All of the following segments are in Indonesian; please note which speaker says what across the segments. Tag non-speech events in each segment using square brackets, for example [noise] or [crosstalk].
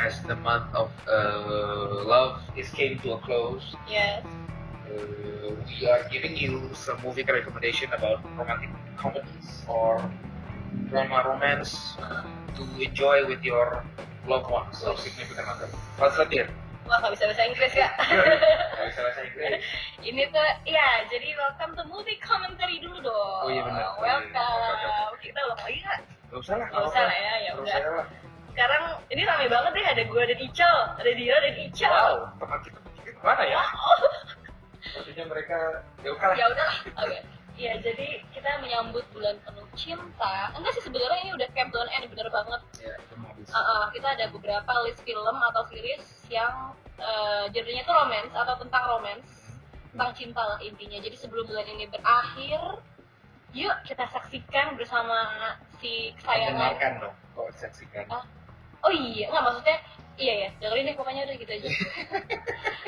Speaker 1: as the month of uh, love is came to a close,
Speaker 2: Yes.
Speaker 1: uh, we are giving you some movie recommendation about romantic comedies or drama romance uh, to enjoy with your loved ones or significant other. Mas Sadir,
Speaker 2: Wah nggak bisa bahasa Inggris
Speaker 1: [laughs]
Speaker 2: ya.
Speaker 1: nggak bisa bahasa Inggris.
Speaker 2: Ini tuh ya jadi welcome to movie commentary dulu dong.
Speaker 1: Oh, iya, benar.
Speaker 2: Welcome. Kita loh oh, iya
Speaker 1: Gak usah lah.
Speaker 2: nggak usah lah ya ya
Speaker 1: Gak
Speaker 2: udah.
Speaker 1: usah lah.
Speaker 2: Sekarang ini rame banget deh ada gue ada Ical, ada Dira, ada Ical.
Speaker 1: Wow, teman kita bertiga mana ya?
Speaker 2: Wow.
Speaker 1: Maksudnya mereka ya kalah.
Speaker 2: ya udah oke ya jadi kita menyambut bulan penuh cinta enggak sih sebenarnya ini udah camp bulan N bener banget
Speaker 1: Ya, itu mau habis.
Speaker 2: Uh, uh, kita ada beberapa list film atau series yang uh, genrenya tuh romance atau tentang romance
Speaker 1: Hmm.
Speaker 2: tentang cinta lah intinya jadi sebelum bulan ini berakhir yuk kita saksikan bersama si kesayangan
Speaker 1: Mendengarkan dong, kok saksikan.
Speaker 2: oh iya nggak maksudnya iya ya dengerin deh pokoknya udah
Speaker 1: [laughs]
Speaker 2: gitu aja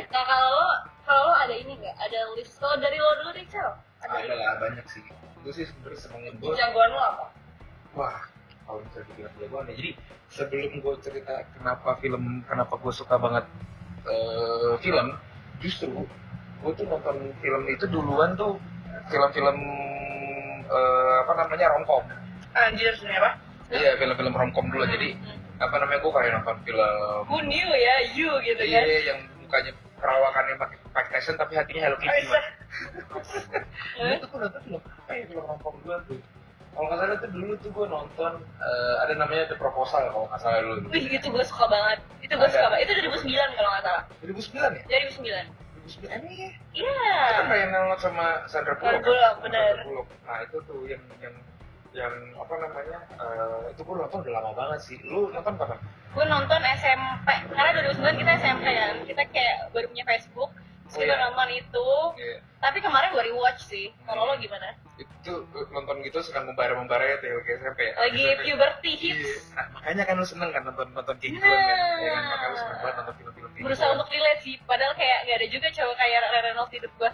Speaker 2: nah kalau lo kalau lo ada ini nggak ada list lo dari lo dulu deh Cel
Speaker 1: Ada lah banyak sih. Gue sih sebenarnya senengin gue
Speaker 2: jagoan lo apa
Speaker 1: Wah, kalau misalnya dibilang jagoan ya. Jadi sebelum gue cerita kenapa film, kenapa gue suka banget eh, film, justru gue tuh nonton film itu duluan tuh film-film eh, apa namanya romcom.
Speaker 2: Anjir, Ah, apa?
Speaker 1: Iya, film-film romcom dulu. Jadi
Speaker 2: Hmm.
Speaker 1: apa namanya gue kayak nonton film
Speaker 2: Who knew ya, you gitu
Speaker 1: iya
Speaker 2: kan?
Speaker 1: yang mukanya perawakannya pakai Mike Tyson tapi hatinya Hello Kitty. Mas.
Speaker 2: [laughs] Eh?
Speaker 1: itu tuh nonton film apa ya film romcom gue tuh. Kalau nggak salah tuh dulu tuh gue nonton eh, ada namanya The Proposal kalau nggak salah dulu.
Speaker 2: Wih, gitu. itu gue suka banget. Itu gue
Speaker 1: Ada.
Speaker 2: suka banget. Itu 2009 kalau nggak salah.
Speaker 1: 2009 ya?
Speaker 2: 2009.
Speaker 1: 2009 ini ya?
Speaker 2: Iya.
Speaker 1: Kita main download sama Sandra Bullock.
Speaker 2: Sandra Bullock,
Speaker 1: Sandra
Speaker 2: bener.
Speaker 1: Bullock. Nah itu tuh yang yang yang apa namanya eh, itu gue nonton udah lama banget sih. Lu nonton kapan?
Speaker 2: Gue nonton SMP. Karena 2009 kita SMP kan. Kita kayak baru punya Facebook. Terus
Speaker 1: Oh,
Speaker 2: kita
Speaker 1: iya.
Speaker 2: nonton itu.
Speaker 1: Iya.
Speaker 2: Tapi kemarin gue rewatch sih. Kalau lo gimana?
Speaker 1: Itu eh, nonton gitu sedang membara-membara ya tuh kayak SMP ya.
Speaker 2: Lagi
Speaker 1: SMP.
Speaker 2: puberty
Speaker 1: Iya.
Speaker 2: hits.
Speaker 1: Nah, makanya kan lu seneng kan nonton nonton kayak gituan kan? Iya kan? Makanya lu seneng banget nonton film-film kayak gitu kan.
Speaker 2: Berusaha untuk relate sih. Padahal kayak nggak ada juga cowok kayak Ryan Reynolds di hidup gue.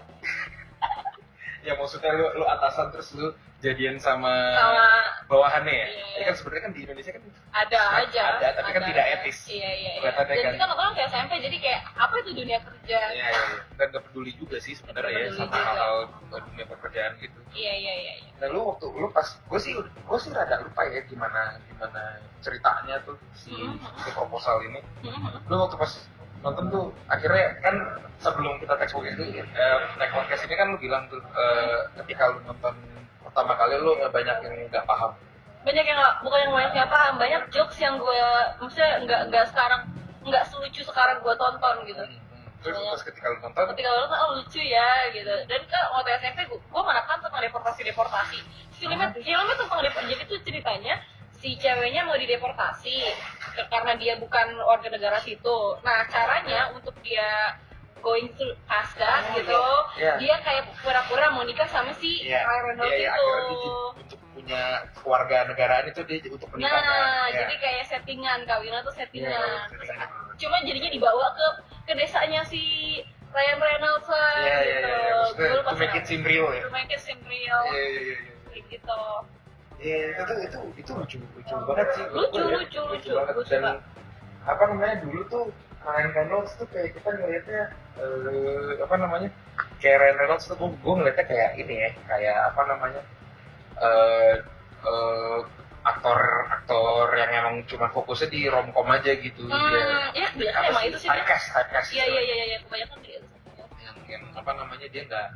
Speaker 1: Ya maksudnya lu, lu atasan terus lu jadian sama,
Speaker 2: Sama
Speaker 1: bawahannya ya?
Speaker 2: Iya.
Speaker 1: Ini kan sebenarnya kan di Indonesia kan
Speaker 2: ada
Speaker 1: Ada,
Speaker 2: aja
Speaker 1: ada, tapi kan tidak etis.
Speaker 2: iya iya iya
Speaker 1: Kelihatannya
Speaker 2: dan
Speaker 1: kan.
Speaker 2: kita nonton kayak SMP jadi kayak apa itu dunia kerja
Speaker 1: Iya, iya, iya. Dan gak peduli juga sih sebenarnya ya
Speaker 2: Nggak peduli
Speaker 1: sama
Speaker 2: juga.
Speaker 1: hal-hal eh, dunia pekerjaan gitu.
Speaker 2: iya iya iya iya.
Speaker 1: Nah lu waktu lu pas gue sih gue sih rada lupa ya gimana gimana ceritanya tuh si,
Speaker 2: Hmm.
Speaker 1: si proposal ini.
Speaker 2: Hmm.
Speaker 1: Lu waktu pas nonton tuh akhirnya kan sebelum kita tag podcast ini eh, tag podcast ini kan lu bilang tuh eh, ketika lu nonton pertama kali lu eh, banyak yang nggak paham.
Speaker 2: banyak yang nggak bukan yang banyak nggak paham banyak jokes yang gue maksudnya nggak nggak sekarang nggak selucu sekarang gue tonton gitu
Speaker 1: Hmm, hmm. Terus
Speaker 2: Banyak.
Speaker 1: pas ketika lu nonton
Speaker 2: ketika lo nonton oh lucu ya gitu dan kan waktu SMP gue gue menekan kan tentang deportasi deportasi filmnya filmnya tentang deportasi jadi tuh ceritanya si ceweknya mau dideportasi ke- karena dia bukan warga negara situ nah
Speaker 1: Ya.
Speaker 2: caranya untuk dia going through pasca
Speaker 1: Oh,
Speaker 2: gitu
Speaker 1: iya.
Speaker 2: dia kayak pura-pura mau nikah sama si
Speaker 1: Iya,
Speaker 2: Ryan Reynolds
Speaker 1: iya, iya,
Speaker 2: itu
Speaker 1: akhirnya dia untuk punya keluarga negaraan itu dia untuk menikah.
Speaker 2: nah
Speaker 1: kan? Ya.
Speaker 2: jadi kayak settingan kawinan tuh settingan
Speaker 1: Iya,
Speaker 2: Terus,
Speaker 1: settingan.
Speaker 2: cuma jadinya dibawa ke ke desanya si Ryan Reynolds lah
Speaker 1: Iya, iya,
Speaker 2: gitu
Speaker 1: iya, iya. Maksudnya
Speaker 2: Dulu
Speaker 1: to
Speaker 2: pas
Speaker 1: make it seem real ya.
Speaker 2: to make it seem real
Speaker 1: Iya, iya, iya, iya.
Speaker 2: kayak gitu
Speaker 1: Iya, itu itu itu lucu lucu banget sih.
Speaker 2: Lucu,
Speaker 1: Gua- gua-
Speaker 2: lucu, lucu,
Speaker 1: banget.
Speaker 2: lucu
Speaker 1: Dan
Speaker 2: banget.
Speaker 1: apa namanya dulu tuh Ryan Reynolds tuh kayak kita ngelihatnya eh, apa namanya kayak Ryan Reynolds tuh gue gue ngelihatnya kayak ini ya kayak apa namanya eh eh, aktor aktor yang emang cuma fokusnya di romcom aja gitu dia
Speaker 2: hmm, ya biasa
Speaker 1: Apa
Speaker 2: emang
Speaker 1: sih?
Speaker 2: itu sih Bel.
Speaker 1: typecast typecast
Speaker 2: iya
Speaker 1: gitu.
Speaker 2: iya iya iya kebanyakan gitu
Speaker 1: yang, yang apa namanya dia nggak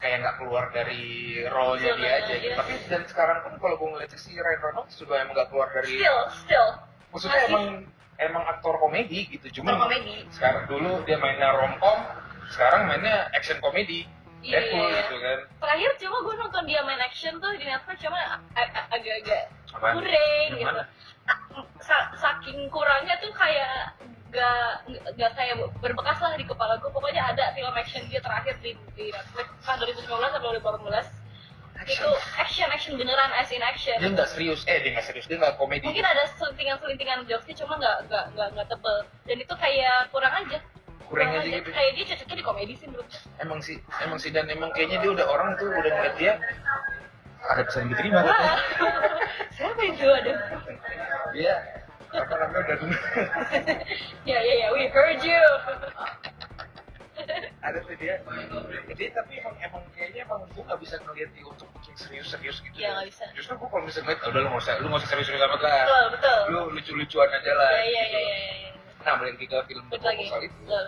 Speaker 1: kayak nggak keluar dari role-nya dia aja gitu.
Speaker 2: Iya.
Speaker 1: Tapi dan sekarang pun kalau gue ngeliatnya si Ryan Reynolds juga emang nggak keluar dari
Speaker 2: still still
Speaker 1: maksudnya
Speaker 2: Iya. masih-
Speaker 1: emang emang aktor komedi gitu cuma
Speaker 2: Aktor komedi.
Speaker 1: sekarang dulu dia mainnya romcom sekarang mainnya action komedi
Speaker 2: Iya,
Speaker 1: Deadpool
Speaker 2: iya.
Speaker 1: gitu kan
Speaker 2: terakhir cuma gue nonton dia main action tuh di Netflix cuma a- a- agak-agak
Speaker 1: Apaan?
Speaker 2: kurang
Speaker 1: Yang
Speaker 2: gitu
Speaker 1: mana?
Speaker 2: Sa- saking kurangnya tuh kayak gak gak kayak berbekas lah di kepala gue pokoknya ada film action dia terakhir di, di Netflix kan 2019 atau 2018 itu action action beneran as in action
Speaker 1: dia nggak serius eh dia nggak serius dia nggak komedi gitu.
Speaker 2: mungkin ada selintingan-selintingan jokesnya cuma nggak nggak nggak nggak tebel dan itu kayak kurang aja
Speaker 1: Kurang aja gitu.
Speaker 2: kayak dia cocoknya di komedi sih menurut gue. [laughs]
Speaker 1: emang sih emang sih dan emang kayaknya dia udah orang tuh udah ngeliat dia ada pesan yang diterima
Speaker 2: wah siapa itu ada
Speaker 1: dia Iya. apa namanya udah
Speaker 2: Ya, ya, ya, we heard you.
Speaker 1: ada tuh dia jadi tapi emang emang kayaknya emang gue nggak bisa ngeliat dia untuk bikin serius-serius gitu
Speaker 2: Iya, nggak bisa.
Speaker 1: justru gue kalau bisa ngeliat "Ah, udah lu nggak usah lu nggak usah serius-serius amat lah
Speaker 2: Betul, betul.
Speaker 1: lu lucu-lucuan aja lah
Speaker 2: Ya, ya,
Speaker 1: gitu.
Speaker 2: ya, ya, ya.
Speaker 1: nah balik ke film The
Speaker 2: Betul lagi.
Speaker 1: Proposal itu
Speaker 2: Betul.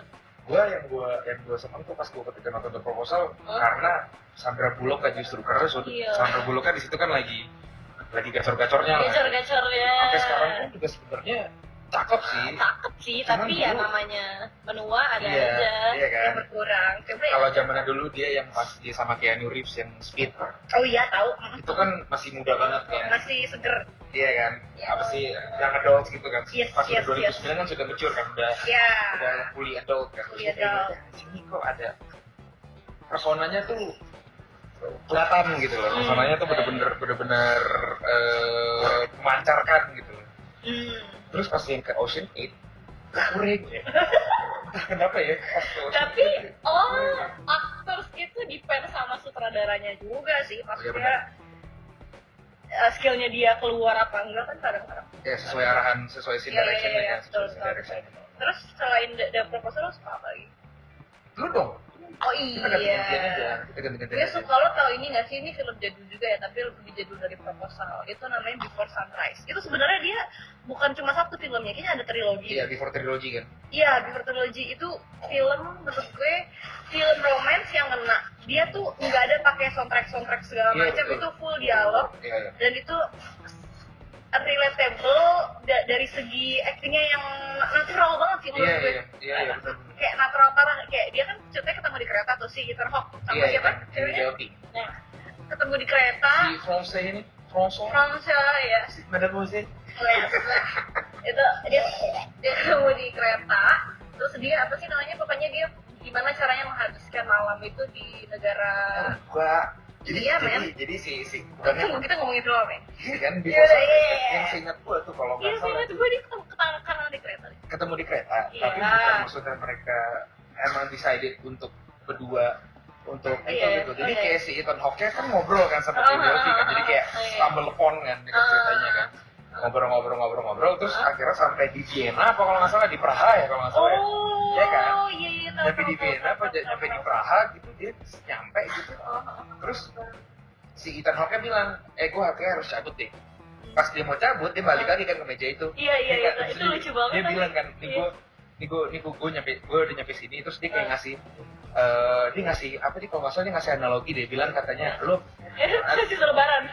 Speaker 1: gue yang gue yang gue seneng tuh pas gue ketika nonton The Proposal
Speaker 2: Hah?
Speaker 1: karena Sandra Bullock kan justru karena su-
Speaker 2: Iya.
Speaker 1: Sandra Bullock kan di situ kan lagi lagi gacor-gacornya lah
Speaker 2: Gacor-gacor ya.
Speaker 1: Oke sekarang pun juga sebenarnya cakep sih
Speaker 2: Cakep sih,
Speaker 1: Cuman
Speaker 2: tapi ya
Speaker 1: dulu-
Speaker 2: namanya menua ada
Speaker 1: Iya,
Speaker 2: aja
Speaker 1: iya kan?
Speaker 2: yang berkurang. Coba ya.
Speaker 1: kalau zamannya dulu dia yang pas dia sama Keanu Reeves yang Speed
Speaker 2: Oh iya, tahu. Mm.
Speaker 1: itu kan masih muda banget kan
Speaker 2: Masih seger.
Speaker 1: Iya kan,
Speaker 2: Iya.
Speaker 1: apa sih yang adult gitu kan?
Speaker 3: Yes,
Speaker 1: Pas udah
Speaker 3: yes,
Speaker 1: 2009
Speaker 3: yes.
Speaker 1: kan sudah mature kan, udah
Speaker 2: Iya.
Speaker 3: Ya.
Speaker 1: udah fully adult kan.
Speaker 3: Fully adult.
Speaker 1: Sini kok ada personanya tuh kelihatan gitu loh,
Speaker 2: Hmm.
Speaker 1: personanya tuh bener-bener bener-bener eh, memancarkan gitu. loh.
Speaker 2: Hmm.
Speaker 1: Terus pas yang ke Ocean 8
Speaker 2: [laughs]
Speaker 1: kurang ya. Entah Kenapa ya? Pas ke Ocean
Speaker 2: Tapi,
Speaker 1: 8.
Speaker 2: oh, actors itu depend sama sutradaranya juga sih.
Speaker 1: Oh, iya,
Speaker 2: Maksudnya, eh, skillnya dia keluar apa enggak kan kadang-kadang.
Speaker 1: ya sesuai arahan, sesuai scene
Speaker 2: Iya, iya,
Speaker 1: direction
Speaker 2: iya, iya,
Speaker 1: ya,
Speaker 2: betul,
Speaker 1: sesuai scene
Speaker 2: betul,
Speaker 1: direction.
Speaker 2: Terus selain The, The Proposal, lo suka apa lagi?
Speaker 1: Lu dong,
Speaker 2: Oh
Speaker 1: kita ganti-gantian aja,
Speaker 2: iya.
Speaker 1: kita ganti-gantian
Speaker 2: Gue
Speaker 1: aja.
Speaker 2: suka lo tau ini gak sih, ini film jadul juga ya, tapi lebih jadul dari Proposal. Itu namanya Before Sunrise. Itu sebenarnya dia bukan cuma satu filmnya, kayaknya ada trilogi.
Speaker 1: Iya, before trilogy kan.
Speaker 2: Iya, Before Trilogy itu film menurut gue film romance yang ngena. Dia tuh nggak ada pakai soundtrack-soundtrack segala
Speaker 1: Iya,
Speaker 2: macam,
Speaker 1: betul.
Speaker 2: itu full Oh, dialog
Speaker 1: Iya, iya.
Speaker 2: dan itu relatable da- dari segi actingnya yang natural banget sih menurut
Speaker 1: Iya,
Speaker 2: gue.
Speaker 1: iya, iya, iya, betul.
Speaker 2: Kayak natural parah, kayak dia kan ceritanya ketemu di kereta tuh si Ethan Hawke sama
Speaker 1: Iya, iya,
Speaker 2: siapa?
Speaker 1: Henry
Speaker 2: Ceweknya? Ah.
Speaker 1: Jaopi.
Speaker 2: Nah, ketemu di kereta,
Speaker 1: Si Fransai ini, François.
Speaker 2: Francia ya,
Speaker 1: Madame Jose.
Speaker 2: Les. itu dia dia ketemu di kereta terus dia apa sih namanya pokoknya dia gimana caranya menghabiskan malam itu di negara
Speaker 1: Enggak.
Speaker 2: Ah. Iya,
Speaker 1: jadi,
Speaker 2: men.
Speaker 1: jadi si si
Speaker 2: kita,
Speaker 1: bukannya
Speaker 2: [laughs] kita ngomongin film ya
Speaker 1: ini kan di
Speaker 2: Iya,
Speaker 1: Fransai,
Speaker 2: iya, iya, iya.
Speaker 1: yang seingat gua tuh kalau
Speaker 2: iya
Speaker 1: nggak
Speaker 2: sih
Speaker 1: salah
Speaker 2: itu gue di ketangkep karena di kereta deh.
Speaker 1: ketemu di kereta,
Speaker 2: Iya.
Speaker 1: tapi bukan maksudnya mereka emang decided untuk berdua untuk itu
Speaker 2: Iya,
Speaker 1: gitu. Jadi
Speaker 2: iya.
Speaker 1: kayak si Ethan Hawke kan ngobrol kan sama
Speaker 2: Ah,
Speaker 1: Tim Jaopi kan, jadi kayak
Speaker 2: ah, iya.
Speaker 1: stumble upon kan dekat
Speaker 2: Ah.
Speaker 1: ceritanya kan ngobrol-ngobrol-ngobrol-ngobrol terus
Speaker 2: Ah.
Speaker 1: akhirnya sampai di Vienna apa kalau nggak salah di Praha ya kalau nggak salah ya.
Speaker 2: oh
Speaker 1: Iya kan?
Speaker 2: iya iya tahu,
Speaker 1: nyampe
Speaker 2: tahu,
Speaker 1: di
Speaker 2: tahu,
Speaker 1: Vienna apa
Speaker 2: tahu, tahu,
Speaker 1: nyampe di
Speaker 2: tahu.
Speaker 1: Praha gitu dia nyampe gitu
Speaker 2: Oh, oh, oh.
Speaker 1: terus si Ethan Hawke bilang eh gue akhirnya harus cabut deh pas dia mau cabut dia balik lagi kan ke meja itu
Speaker 2: iya iya
Speaker 1: Dia
Speaker 2: iya
Speaker 1: kan-
Speaker 2: itu lucu banget
Speaker 1: dia
Speaker 2: tadi.
Speaker 1: bilang kan ini
Speaker 2: Iya.
Speaker 1: gue ini gue ini gue gue nyampe gue udah nyampe sini terus dia kayak
Speaker 2: Ah.
Speaker 1: ngasih eh dia ngasih apa sih kalau nggak salah dia ngasih analogi dia bilang katanya lo
Speaker 2: [laughs] Terus itu iya. lebaran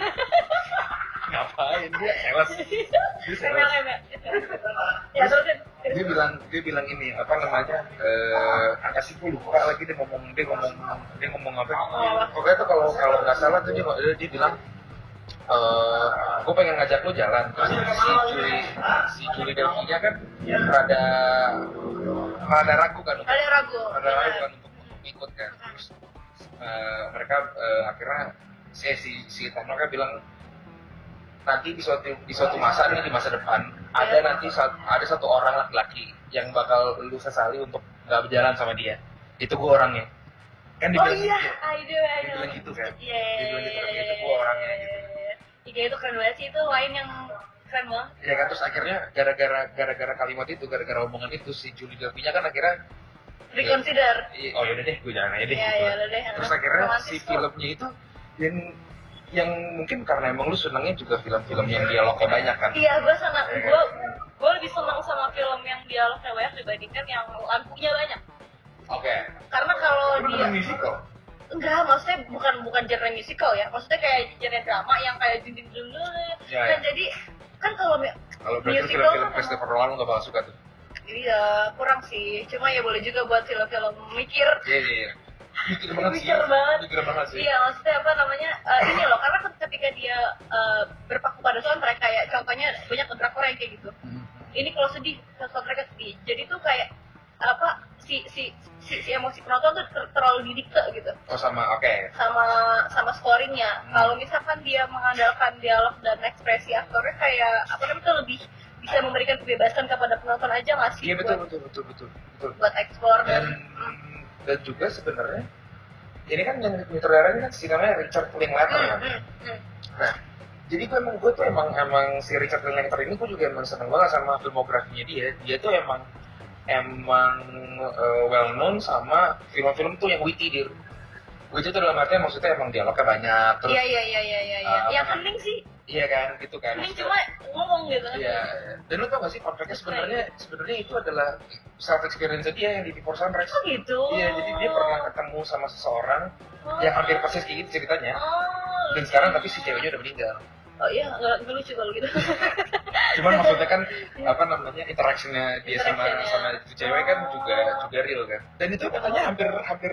Speaker 1: ngapain dia sales dia sales
Speaker 2: MLM ya ya terus
Speaker 1: dia bilang dia bilang ini apa namanya eh apa sih gue lupa lagi dia ngomong dia ngomong dia ngomong apa pokoknya tuh kalau kalau nggak salah tuh dia dia, dia bilang eh gue pengen ngajak lo jalan terus si Juli si Juli Delphinya kan rada rada ragu kan untuk
Speaker 2: ada ragu
Speaker 1: rada ragu kan untuk, untuk ikut kan terus eh, mereka eh, akhirnya si si si Tano kan bilang nanti di suatu di suatu masa nih di masa depan ada
Speaker 2: Iya.
Speaker 1: nanti sat- ada satu orang laki-laki yang bakal lu sesali untuk nggak berjalan sama dia itu gue orangnya kan
Speaker 2: Oh
Speaker 1: dibilang
Speaker 2: iya,
Speaker 1: gitu.
Speaker 2: I do, I
Speaker 1: Dia
Speaker 2: do.
Speaker 1: bilang gitu kan?
Speaker 2: Iya,
Speaker 1: Dia bilang gitu kan,
Speaker 2: iya,
Speaker 1: itu gua orangnya, gitu.
Speaker 2: Iya, itu keren banget sih, itu lain yang keren banget.
Speaker 1: ya kan terus akhirnya gara-gara gara-gara kalimat itu gara-gara omongan itu si Julie Delphinya kan akhirnya
Speaker 2: Reconsider.
Speaker 1: "Ih, oh yaudah deh gue jalan aja deh
Speaker 2: Iya,
Speaker 1: gitu.
Speaker 2: iya, lo deh.
Speaker 1: terus akhirnya
Speaker 2: Romantis
Speaker 1: si
Speaker 2: tuh.
Speaker 1: filmnya itu yang yang mungkin karena emang lu senangnya juga film-film yang dialognya banyak kan
Speaker 2: Iya, gue senang. Gue gue lebih senang sama film yang dialognya banyak dibandingkan yang lampunya banyak.
Speaker 1: oke
Speaker 2: Karena kalau
Speaker 1: Lu
Speaker 2: dia
Speaker 1: nonton musical
Speaker 2: enggak, maksudnya bukan bukan genre musical ya. Maksudnya kayak genre drama yang kayak jundin dulu.
Speaker 1: Iya,
Speaker 2: Nah,
Speaker 1: iya.
Speaker 2: jadi kan kalau mi-
Speaker 1: kalau berarti
Speaker 2: Musical
Speaker 1: film-film
Speaker 2: kan
Speaker 1: Christopher Nolan lu gak bakal suka tuh
Speaker 2: iya kurang sih. Cuma ya boleh juga buat film-film mikir
Speaker 1: iya iya iya mikir banget sih
Speaker 2: Mikir banget.
Speaker 1: mikir banget sih
Speaker 2: Iya, maksudnya apa namanya? eh, ini loh, karena ketika dia eh, berpaku pada soundtrack kayak contohnya banyak drakor yang kayak gitu.
Speaker 1: Hmm.
Speaker 2: Ini kalau sedih, soundtracknya sedih. Jadi tuh kayak apa si si si, si emosi penonton tuh ter- terlalu didikte gitu
Speaker 1: oh sama oke
Speaker 2: sama sama scoringnya.
Speaker 1: Hmm.
Speaker 2: Kalau misalkan dia mengandalkan dialog dan ekspresi aktornya kayak apa namanya tuh lebih bisa memberikan kebebasan kepada penonton aja nggak sih
Speaker 1: iya betul
Speaker 2: buat
Speaker 1: betul betul betul betul
Speaker 2: buat eksplor
Speaker 1: dan
Speaker 2: dan Hmm.
Speaker 1: dan juga sebenarnya ini kan yang ditularnya kan si namanya Richard Linklater
Speaker 2: Hmm,
Speaker 1: kan
Speaker 2: hmm, hmm.
Speaker 1: Nah, jadi gue emang gue tuh emang emang si Richard Linklater ini gue juga emang seneng banget sama filmografinya dia dia tuh emang emang eh, well known sama film-film tuh yang witty dir witty tuh dalam artian maksudnya emang dialognya banyak terus
Speaker 2: Iya iya iya iya iya. iya.
Speaker 1: Ah,
Speaker 2: yang
Speaker 1: apa-
Speaker 2: penting sih,
Speaker 1: iya kan gitu kan
Speaker 2: penting cuma ngomong gitu kan.
Speaker 1: Iya. Dan lu tau gak sih kontraknya sebenarnya sebenarnya itu adalah self experience dia yang di Before Sunrise.
Speaker 2: Oh gitu.
Speaker 1: Iya, jadi dia pernah ketemu sama seseorang
Speaker 2: Oh.
Speaker 1: yang hampir persis kayak gitu ceritanya.
Speaker 2: Oh.
Speaker 1: Dan
Speaker 2: lucu.
Speaker 1: sekarang tapi si ceweknya udah meninggal.
Speaker 2: Oh iya, nggak nggak lucu kalau gitu. [laughs]
Speaker 1: Cuman
Speaker 2: Iya,
Speaker 1: maksudnya kan apa namanya interaksinya dia sama
Speaker 2: Interaksinya. ya.
Speaker 1: sama itu cewek kan juga juga real kan. Dan itu katanya hampir hampir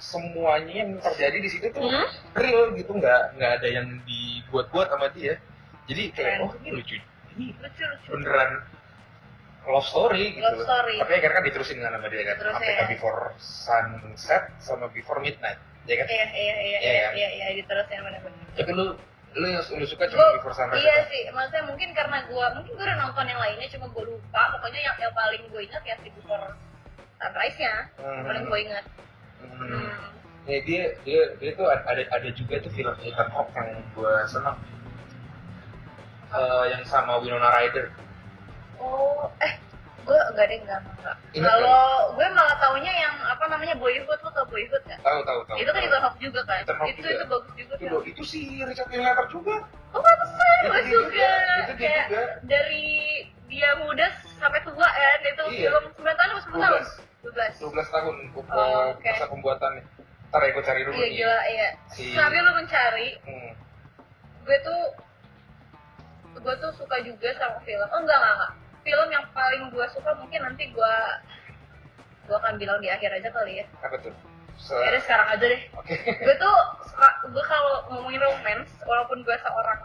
Speaker 1: semuanya yang terjadi di situ tuh
Speaker 2: Hmm?
Speaker 1: real gitu nggak nggak ada yang dibuat-buat sama dia. Jadi kayak
Speaker 2: Keren.
Speaker 1: oh ini lucu ini
Speaker 2: Lucu lucu.
Speaker 1: beneran love story gitu.
Speaker 2: Love story.
Speaker 1: Tapi akhirnya kan diterusin kan sama dia kan.
Speaker 2: Terus,
Speaker 1: Sampai
Speaker 2: ya.
Speaker 1: ke Before Sunset sama Before Midnight. Ya kan?
Speaker 2: Iya iya iya
Speaker 1: Iya,
Speaker 2: iya
Speaker 1: kan?
Speaker 2: iya iya diterusin benar-benar.
Speaker 1: Tapi lu lu yang lu suka cuma
Speaker 2: Gua-
Speaker 1: Before Sunrise.
Speaker 2: iya
Speaker 1: aja. kan?
Speaker 2: sih, maksudnya mungkin karena gue, mungkin gue udah nonton yang lainnya, cuma gue lupa. Pokoknya yang, yang paling gue ingat ya si Before Sunrise-nya,
Speaker 1: Hmm.
Speaker 2: ya, paling gue ingat.
Speaker 1: Hmm.
Speaker 2: Hmm.
Speaker 1: Ya, dia dia dia tuh ada ada juga tuh film Ethan Hawke yang gua seneng. Eh, yang sama Winona Ryder.
Speaker 2: Oh, eh, gue enggak deh, enggak, enggak.
Speaker 1: Ingat
Speaker 2: Kalau gue malah taunya yang apa namanya Boyhood, lo tau Boyhood nggak?
Speaker 1: Tahu tahu tahu.
Speaker 2: Itu kan
Speaker 1: tahu.
Speaker 2: juga hop juga kan?
Speaker 1: Ethan Hawke
Speaker 2: Itu
Speaker 1: Nah, juga.
Speaker 2: itu bagus juga.
Speaker 1: Itu,
Speaker 2: kan?
Speaker 1: do- itu si Richard Linklater juga.
Speaker 2: Oh, pantesan,
Speaker 1: Itu
Speaker 2: gue
Speaker 1: dia
Speaker 2: juga.
Speaker 1: Itu dia
Speaker 2: Kayak
Speaker 1: juga.
Speaker 2: dari dia muda sampai tua kan, itu
Speaker 1: Iya.
Speaker 2: film 9 tahun apa 10 tahun? 12.
Speaker 1: 12 tahun untuk
Speaker 2: Oh, oke.
Speaker 1: masa pembuatannya. Ntar ya gue cari dulu
Speaker 2: Iya,
Speaker 1: nih.
Speaker 2: gila, iya.
Speaker 1: Si-
Speaker 2: Sambil lo mencari,
Speaker 1: Hmm.
Speaker 2: gue tuh gue tuh suka juga sama film oh enggak enggak, enggak. film yang paling gue suka mungkin nanti gue gue akan bilang di akhir aja kali ya
Speaker 1: Apa tuh? Se-
Speaker 2: ya udah, sekarang aja deh [laughs]
Speaker 1: Oke.
Speaker 2: gue tuh suka gue kalau ngomongin romance walaupun gue seorang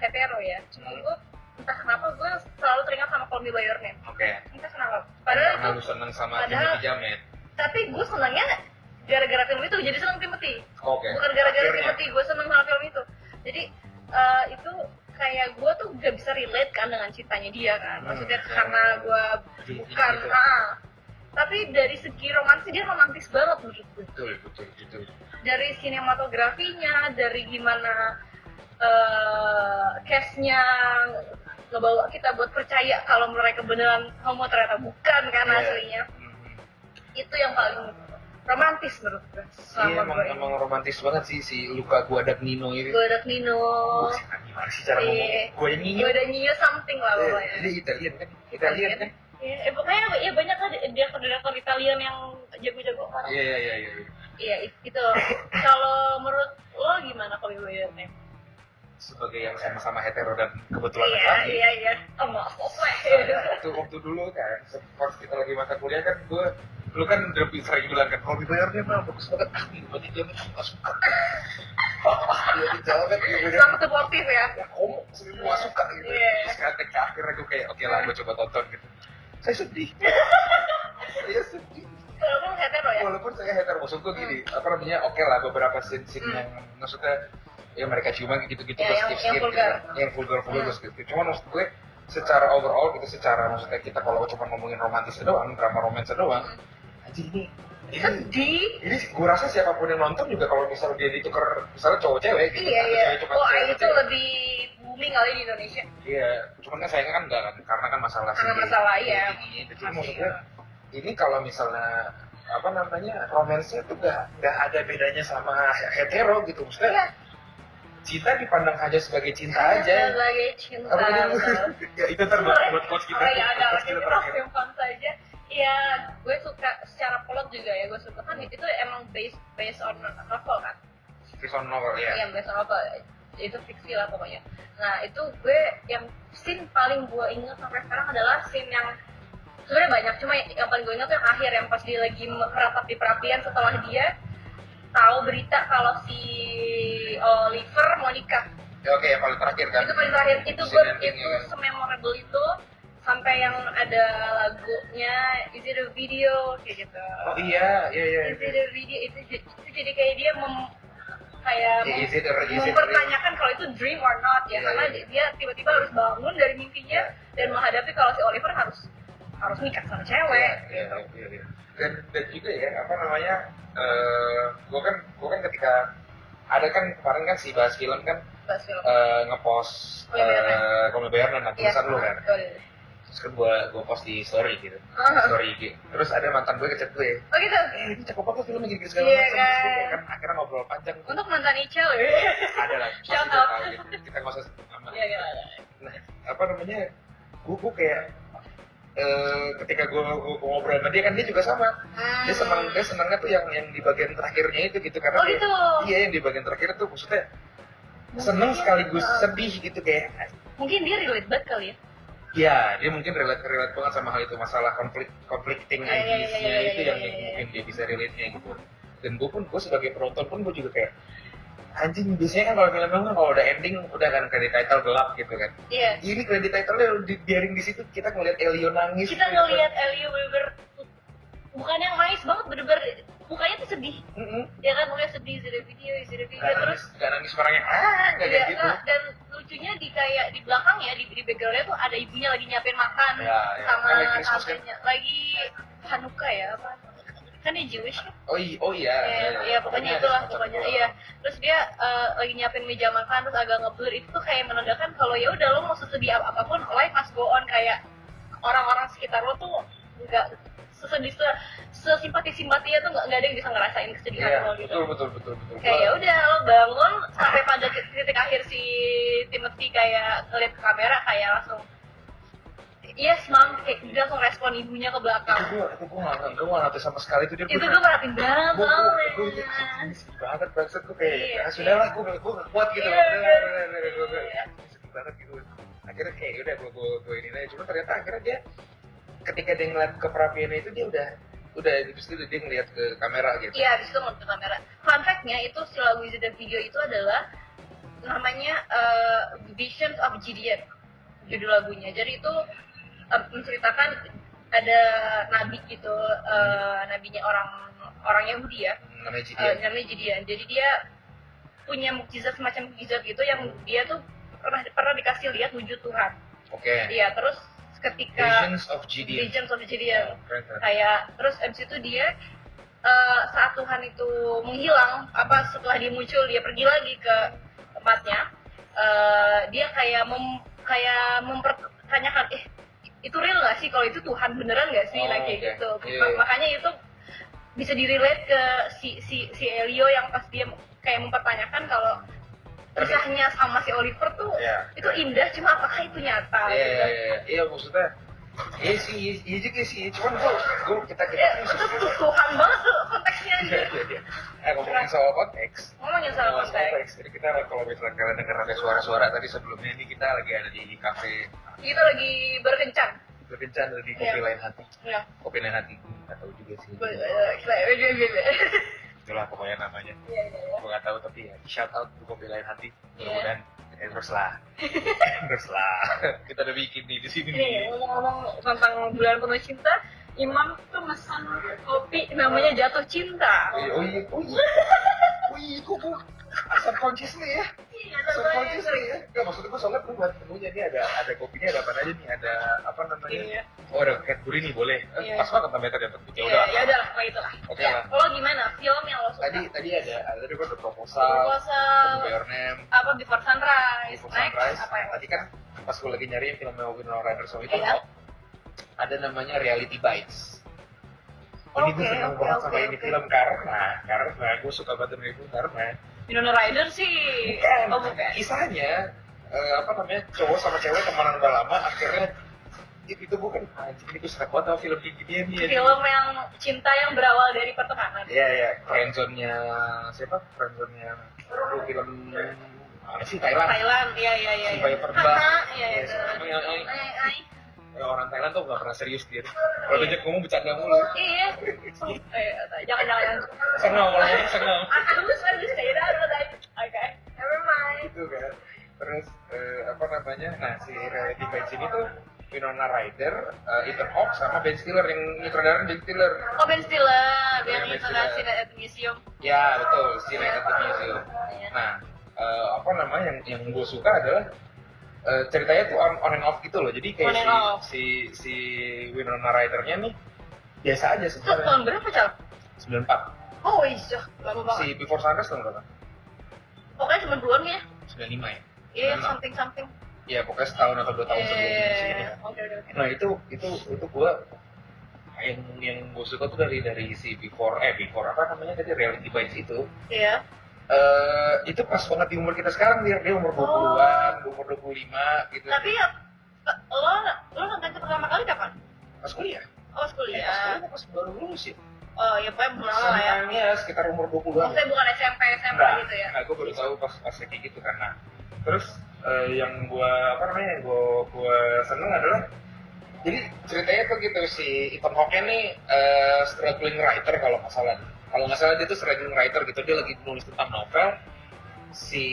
Speaker 2: hetero ya cuma gue entah kenapa gue selalu teringat sama Call Me By Your Name
Speaker 1: Oke.
Speaker 2: entah kenapa padahal
Speaker 1: Karena
Speaker 2: itu
Speaker 1: lu seneng sama
Speaker 2: padahal-
Speaker 1: Timothy Jamet.
Speaker 2: tapi gue senangnya gara-gara film itu jadi senang Timothy
Speaker 1: Oke.
Speaker 2: bukan gara-gara
Speaker 1: Akhirnya.
Speaker 2: Timothy gue seneng sama film itu jadi eh, itu kayak gue tuh gak bisa relate kan dengan cintanya dia kan maksudnya
Speaker 1: Hmm.
Speaker 2: karena gue
Speaker 1: Jadi
Speaker 2: bukan
Speaker 1: gitu.
Speaker 2: ah. tapi dari segi romantis dia romantis banget menurut gue
Speaker 1: Betul, betul, betul.
Speaker 2: dari sinematografinya dari gimana eh case-nya ngebawa kita buat percaya kalau mereka beneran homo ternyata bukan kan
Speaker 1: Iya.
Speaker 2: aslinya
Speaker 1: Mhm.
Speaker 2: itu yang paling romantis menurut gue
Speaker 1: Iya,
Speaker 2: selama
Speaker 1: emang,
Speaker 2: gue
Speaker 1: emang romantis banget sih si luka gua ada Nino ini.
Speaker 2: gue ya. udah Nino
Speaker 1: Buset, Gimana sih cara
Speaker 2: Iya.
Speaker 1: ngomongnya? Gua ini
Speaker 2: Ya udah new something lah ya. pokoknya.
Speaker 1: Jadi Italian kan? Italian kan?
Speaker 2: Ya, eh, pokoknya ya banyak lah direktur-direktur Italian yang jago-jago kan.
Speaker 1: Iya, iya, iya. iya.
Speaker 2: Iya, i-
Speaker 1: [laughs]
Speaker 2: itu. Kalau menurut lo gimana kalau gue ya?
Speaker 1: Sebagai yang sama-sama hetero dan kebetulan
Speaker 2: Iya,
Speaker 1: laki-laki.
Speaker 2: iya, iya. Oh, maaf, gue.
Speaker 1: Nah, itu waktu dulu kan se- pas kita lagi masa kuliah kan gue lu kan lebih sering bilang kan kalau dibayarnya mah bagus banget ah berarti dia mah nggak suka dia dijawabnya gitu kan
Speaker 2: Sangat supportive ya.
Speaker 1: ya kamu semua suka gitu
Speaker 2: Iya.
Speaker 1: terus kayak ke akhirnya gue kayak oke lah gue coba tonton gitu saya
Speaker 2: [laughs]
Speaker 1: sedih saya sedih
Speaker 2: Walaupun hetero ya.
Speaker 1: walaupun saya hater maksud gue gini apa namanya oke lah beberapa scene scene
Speaker 2: Hmm.
Speaker 1: yang maksudnya ya mereka ciuman gitu gitu
Speaker 2: Ya, yang- yang vulgar.
Speaker 1: yang vulgar vulgar
Speaker 2: Hmm.
Speaker 1: gue skip skip cuman maksud gue secara overall gitu secara maksudnya kita kalau cuma ngomongin romantis doang drama romantis doang
Speaker 2: Hmm.
Speaker 1: anjing ini ini kan,
Speaker 2: Sedih.
Speaker 1: ini gue rasa siapapun yang nonton juga kalau misalnya dia ditukar misalnya cowok cewek gitu
Speaker 2: Iya,
Speaker 1: atau
Speaker 2: iya.
Speaker 1: cewek cuma
Speaker 2: Oh,
Speaker 1: cewek
Speaker 2: itu
Speaker 1: cewek.
Speaker 2: lebih booming kali di Indonesia.
Speaker 1: iya cuman kan sayangnya kan enggak kan karena kan masalah
Speaker 2: Karena
Speaker 1: sendiri.
Speaker 2: masalah, iya.
Speaker 1: ini ini. Cuma
Speaker 2: Masih,
Speaker 1: maksud gue ini kalau misalnya apa namanya romansnya tuh gak, gak ada bedanya sama hetero gitu maksudnya
Speaker 2: Iya,
Speaker 1: cinta dipandang hanya sebagai cinta aja.
Speaker 2: sebagai cinta.
Speaker 1: Apa namanya?
Speaker 2: betul.
Speaker 1: [laughs] ya itu ntar buat, buat coach kita.
Speaker 2: Oh ya ada
Speaker 1: Coach
Speaker 2: lagi
Speaker 1: kita
Speaker 2: kita
Speaker 1: terakhir.
Speaker 2: simpan saja. Iya, gue suka secara plot juga ya, gue suka kan itu emang based based on novel kan?
Speaker 1: Prison novel ya.
Speaker 2: Iya, based on novel. Itu fiksi lah pokoknya. Nah itu gue yang scene paling gue ingat sampai sekarang adalah scene yang sebenarnya banyak cuma yang paling gue ingat tuh yang akhir yang pas dia lagi meratap di perapian setelah dia tahu berita kalau si Oliver mau nikah
Speaker 1: Ya, Oke yang paling terakhir kan.
Speaker 2: itu paling terakhir itu
Speaker 1: Scene
Speaker 2: gue
Speaker 1: endingnya
Speaker 2: itu
Speaker 1: kan.
Speaker 2: sememorable itu sampai yang ada lagunya is it a video kayak gitu
Speaker 1: Oh iya iya iya.
Speaker 2: is it a video itu, j- itu jadi kayak dia mem, kayak
Speaker 1: Ya,
Speaker 2: mem-
Speaker 1: Is it a is it a-
Speaker 2: mempertanyakan kalau itu dream or not
Speaker 1: Iya,
Speaker 2: ya karena
Speaker 1: iya.
Speaker 2: di- dia tiba-tiba harus bangun dari mimpinya dan menghadapi kalau si Oliver harus harus nikah sama
Speaker 1: Iya,
Speaker 2: cewek
Speaker 1: iya, iya, iya. Dan dan juga ya apa namanya? Eh, gua kan gua kan ketika ada kan kemarin kan si bahas film kan
Speaker 2: pas film
Speaker 1: eh, ngepost
Speaker 2: Komik Bayaran.
Speaker 1: eh, komik bayaran
Speaker 2: Iya.
Speaker 1: dan tulisan lu kan
Speaker 2: betul.
Speaker 1: terus kan gue gue post di story gitu
Speaker 2: Ah.
Speaker 1: story IG terus ada mantan gue ngechat gue
Speaker 2: oh gitu
Speaker 1: eh ini cakep banget filmnya gini segala
Speaker 2: Iya,
Speaker 1: macam terus gue
Speaker 2: kan.
Speaker 1: kayak kan akhirnya ngobrol
Speaker 2: [laughs]
Speaker 1: panjang tuh.
Speaker 2: untuk mantan Ical
Speaker 1: Iya,
Speaker 2: ya
Speaker 1: ada lah pasti
Speaker 2: Shout
Speaker 1: dia
Speaker 2: out.
Speaker 1: tahu gitu. kita nggak usah sebut nama
Speaker 2: [laughs]
Speaker 1: Nah,
Speaker 2: Iya, iya,
Speaker 1: apa namanya gue gue kayak eh, ketika gue ngobrol sama dia kan dia juga sama
Speaker 2: iya.
Speaker 1: dia senang dia senangnya tuh yang yang di bagian terakhirnya itu gitu karena
Speaker 2: oh
Speaker 1: dia-
Speaker 2: gitu
Speaker 1: iya yang di bagian terakhir tuh maksudnya seneng sekaligus sedih gitu kayak
Speaker 2: mungkin dia relate banget kali ya
Speaker 1: Ya, dia mungkin relate relate banget sama hal itu masalah konflik conflicting
Speaker 2: Iya, iya, iya,
Speaker 1: ideas-nya itu
Speaker 2: iya, iya,
Speaker 1: yang
Speaker 2: iya,
Speaker 1: yang
Speaker 2: iya.
Speaker 1: mungkin dia bisa relate-nya gitu. Dan gue pun gue sebagai penonton pun gue juga kayak anjing biasanya kan kalau film kan kalau udah ending udah kan kredit title gelap gitu kan.
Speaker 2: iya
Speaker 1: Ini kredit title-nya dibiarin di situ kita ngeliat Elio nangis.
Speaker 2: kita ngelihat Ellie Weber bukan yang nangis banget bener-bener mukanya tuh sedih
Speaker 1: Mm-mm.
Speaker 2: ya kan mukanya sedih zero video zero video
Speaker 1: Nggak
Speaker 2: terus
Speaker 1: nangis, nggak nangis orang yang ah nggak
Speaker 2: Iya,
Speaker 1: kayak gitu.
Speaker 2: nggak, dan lucunya di kayak di belakang ya di, di backgroundnya tuh ada ibunya lagi nyiapin makan
Speaker 1: Ya, ya.
Speaker 2: sama
Speaker 1: Kan lagi Christmas kan?
Speaker 2: tantenya lagi Hanukkah ya apa kan dia Jewish kan?
Speaker 1: Oh iya, oh iya.
Speaker 2: Iya, iya,
Speaker 1: ada
Speaker 2: pokoknya itulah
Speaker 1: semacam
Speaker 2: pokoknya
Speaker 1: dua.
Speaker 2: iya terus dia eh, lagi nyiapin meja makan terus agak ngeblur itu tuh kayak menandakan kalau ya udah lo mau sesedih ap- apapun life must go on kayak orang-orang sekitar lo tuh nggak sesedih se sesimpati simpatinya tuh nggak nggak ada yang bisa ngerasain kesedihan
Speaker 1: Iya,
Speaker 2: lo gitu
Speaker 1: betul betul betul betul.
Speaker 2: kayak ya udah lo bangun sampai pada titik akhir si Timothy kayak ngeliat ke kamera kayak langsung yes mom kayak dia langsung respon ibunya ke
Speaker 1: itu
Speaker 2: belakang
Speaker 1: gue itu gue nggak gue nggak ngerti sama sekali itu dia
Speaker 2: itu
Speaker 1: gue-
Speaker 2: gue merhatiin banget
Speaker 1: gue gue gue itu
Speaker 2: soalnya
Speaker 1: sedih banget banget gue kayak
Speaker 2: Iya.
Speaker 1: ah, sudah lah gue gue nggak kuat gitu
Speaker 2: Iya,
Speaker 1: Udah, udah,
Speaker 2: iya.
Speaker 1: udah, udah, gue gue sedih banget gitu akhirnya kayak udah gue gue gue ini aja cuma ternyata akhirnya dia ketika dia ngeliat ke perapiannya itu dia udah udah habis itu dia ngeliat ke kamera gitu
Speaker 2: iya abis itu ngeliat ke kamera fun fact-nya itu si lagu Is It a Video itu adalah namanya eh, Visions of Gideon judul lagunya jadi itu eh, menceritakan ada nabi gitu eh, nabinya orang orang Yahudi ya
Speaker 1: namanya Gigi
Speaker 2: Eh, namanya Gideon. Jadi dia punya mukjizat semacam mukjizat gitu yang dia tuh pernah pernah dikasih lihat wujud Tuhan.
Speaker 1: oke
Speaker 2: Iya, terus ketika
Speaker 1: Visions of Gideon
Speaker 2: Visions of
Speaker 1: Nah,
Speaker 2: Gideon
Speaker 1: keren keren
Speaker 2: kayak terus abis itu dia eh, saat Tuhan itu menghilang apa setelah dia muncul dia pergi lagi ke tempatnya eh, dia kayak mem, kayak mempertanyakan eh itu real gak sih kalau itu Tuhan beneran gak sih
Speaker 1: Oh,
Speaker 2: Nah, kayak
Speaker 1: oke.
Speaker 2: gitu
Speaker 1: Iya,
Speaker 2: Ma-
Speaker 1: iya.
Speaker 2: makanya itu bisa direlate ke si si si Elio yang pas dia kayak mempertanyakan kalau kisahnya sama si Oliver tuh
Speaker 1: Iya.
Speaker 2: itu indah cuma apakah itu
Speaker 1: iya
Speaker 2: nyata gitu.
Speaker 1: iya iya iya maksudnya iya sih iya- iya juga sih cuman gue gue kita kita
Speaker 2: Ya, itu tuh Tuhan banget tuh konteksnya
Speaker 1: Iya,
Speaker 2: anjir.
Speaker 1: iya, iya. eh ngomongin soal konteks
Speaker 2: ngomongin Iya, soal
Speaker 1: Mas
Speaker 2: konteks
Speaker 1: Alex, Jadi kita kalau misalnya kalian dengar ada suara-suara tadi sebelumnya ini kita lagi ada di kafe
Speaker 2: kita lagi berkencan
Speaker 1: berkencan ada di kopi
Speaker 2: Iya.
Speaker 1: lain hati,
Speaker 2: ya
Speaker 1: kopi lain hati nggak tahu juga sih.
Speaker 2: gue- eh, kita eh, gue- gue- gue.
Speaker 1: Itulah pokoknya namanya.
Speaker 2: Iya, iya, iya.
Speaker 1: Gue nggak tahu tapi ya shout out ke kopi lain hati.
Speaker 2: Iya.
Speaker 1: Mudah-mudahan endorse
Speaker 2: [laughs]
Speaker 1: lah, endorse lah. Kita udah bikin nih di sini
Speaker 2: ini
Speaker 1: nih.
Speaker 2: ngomong-ngomong tentang bulan penuh cinta Imam tuh pesan kopi namanya jatuh cinta
Speaker 1: Oh iya, oh iya, oh iya, oh iya, kok gue subconsciously ya,
Speaker 2: Iya,
Speaker 1: subconsciously ya. Nggak maksud gue soalnya gue buat temunya ini ada ada kopinya ada apa aja nih, ada apa namanya?
Speaker 2: Iya.
Speaker 1: Oh ada Cadbury nih boleh. Eh,
Speaker 2: Iya.
Speaker 1: Pas banget sama metode yang penting. Ya
Speaker 2: Iya,
Speaker 1: udah.
Speaker 2: ya udah lah, kayak itu lah.
Speaker 1: Oke
Speaker 2: Ya,
Speaker 1: lah.
Speaker 2: Lo gimana film yang lo suka?
Speaker 1: Tadi tadi ada ada tadi gua ada proposal,
Speaker 2: proposal
Speaker 1: ada Your Name,
Speaker 2: apa Before Sunrise,
Speaker 1: Before
Speaker 2: Next,
Speaker 1: Sunrise.
Speaker 2: apa yang
Speaker 1: Tadi kan pas gue lagi nyari film yang Winona Ryder sama itu
Speaker 2: Iya.
Speaker 1: ada namanya Reality Bites. Ini gue
Speaker 2: Oke,
Speaker 1: seneng
Speaker 2: oke,
Speaker 1: banget
Speaker 2: oke,
Speaker 1: sama ini
Speaker 2: oke.
Speaker 1: film karena karena gue suka banget sama itu karena
Speaker 2: Winona Ryder sih.
Speaker 1: bukan,
Speaker 2: Oh, bukan.
Speaker 1: Iya, kisahnya eh, apa namanya cowok sama cewek temenan udah lama akhirnya itu itu bukan anjing ini gue seneng banget sama film kayak gini nih
Speaker 2: Film yang cinta yang berawal dari pertemanan.
Speaker 1: Iya ya, friendzone-nya siapa? Friendzone-nya dulu film apa sih Thailand?
Speaker 2: Thailand, iya iya iya.
Speaker 1: Si
Speaker 2: iya.
Speaker 1: Piper Bas.
Speaker 2: Haha, Iya iya.
Speaker 1: Yes, emang yang- yang-
Speaker 2: Ai, ai.
Speaker 1: Eh, orang Thailand tuh gak pernah serius dia. Kalau diajak ngomong bercanda mulu.
Speaker 2: Iya. Eh, jangan jangan Ah, jangan.
Speaker 1: Sengau, kalau ngomong sengau.
Speaker 2: I'm just going to say that, but I, okay, never mind.
Speaker 1: Gitu kan. Terus eh, apa namanya? Nah si reality bites ini tuh Winona Ryder, eh, Ethan Hawke sama Ben Stiller yang nyutradarain Ben Stiller.
Speaker 2: Oh Ben Stiller, yang
Speaker 1: Iya, Ben
Speaker 2: itu
Speaker 1: Stiller.
Speaker 2: ngasih at the museum.
Speaker 1: Ya betul, si Night at the Museum.
Speaker 2: Iya.
Speaker 1: Nah, eh, apa namanya yang yang gue suka adalah eh, ceritanya tuh on, on and off gitu loh. Jadi kayak
Speaker 2: On and
Speaker 1: si,
Speaker 2: off.
Speaker 1: si si Winona Ryder-nya nih biasa aja
Speaker 2: Itu tahun
Speaker 1: sebenarnya.
Speaker 2: berapa cal?
Speaker 1: 94.
Speaker 2: Oh iya, lama banget.
Speaker 1: Si Before Sunrise tahun berapa?
Speaker 2: Pokoknya cuma duluan ya.
Speaker 1: 94 95 ya
Speaker 2: Iya,
Speaker 1: Enam.
Speaker 2: something something.
Speaker 1: ya pokoknya setahun atau dua tahun sebelum segini
Speaker 2: Iya.
Speaker 1: kan.
Speaker 2: Oke oke. oke.
Speaker 1: nah itu itu itu gua yang yang gue suka tuh dari dari si before eh before apa namanya tadi reality bites itu
Speaker 2: Iya.
Speaker 1: eh itu pas banget di umur kita sekarang dia dia umur 20-an, gua umur 25 gitu.
Speaker 2: Oh. Tapi ya ke- lo lo nonton pertama kali kapan?
Speaker 1: pas kuliah. Eh,
Speaker 2: Oh
Speaker 1: pas
Speaker 2: kuliah.
Speaker 1: kuliah pas baru lulus ya.
Speaker 2: Oh ya pokoknya belum lama lah ya.
Speaker 1: Sometime ya sekitar umur 20-an.
Speaker 2: Maksudnya bukan SMP SMA
Speaker 1: Enggak,
Speaker 2: gitu ya.
Speaker 1: enggak, gue Nah, baru tahu pas pas kayak gitu karena terus eh, yang gua apa namanya yang gua gua seneng adalah jadi ceritanya tuh gitu si Ethan Hawke nih eh, struggling writer kalau nggak salah kalau nggak salah dia tuh struggling writer gitu dia lagi nulis tentang novel si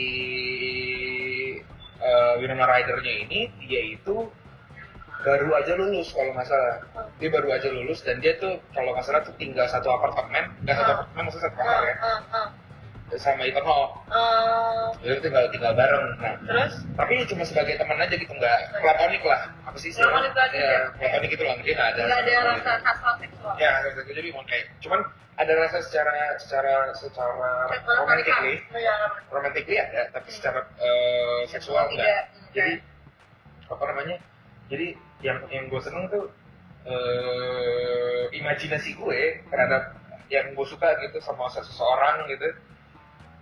Speaker 1: eh, Winona Ryder-nya ini dia itu baru aja lulus kalau nggak salah dia baru aja lulus dan dia tuh kalau nggak salah tuh tinggal satu apartemen nggak satu
Speaker 2: Ah.
Speaker 1: apartemen maksudnya satu kamar
Speaker 2: Heeh,
Speaker 1: ya
Speaker 2: heeh, heeh.
Speaker 1: sama Ethan Hawke
Speaker 2: Eh,
Speaker 1: jadi itu tinggal tinggal bareng nah
Speaker 2: Terus?
Speaker 1: tapi cuma sebagai teman aja gitu nggak platonik lah apa sih sih
Speaker 2: Platonik aja
Speaker 1: ya,
Speaker 2: ya?
Speaker 1: platonik gitu lah dia nggak ada
Speaker 2: Nggak ada rasa hasrat seksual.
Speaker 1: ya rasa jadi mau kayak cuman ada rasa secara secara secara
Speaker 2: Seksual
Speaker 1: romantically
Speaker 2: pernikahan. Iya, romantic.
Speaker 1: romantically ada tapi secara eh, seksual Hmm. enggak
Speaker 2: Tidak.
Speaker 1: jadi apa namanya jadi yang yang gue seneng tuh eh imajinasi gue terhadap yang gue suka gitu sama seseorang gitu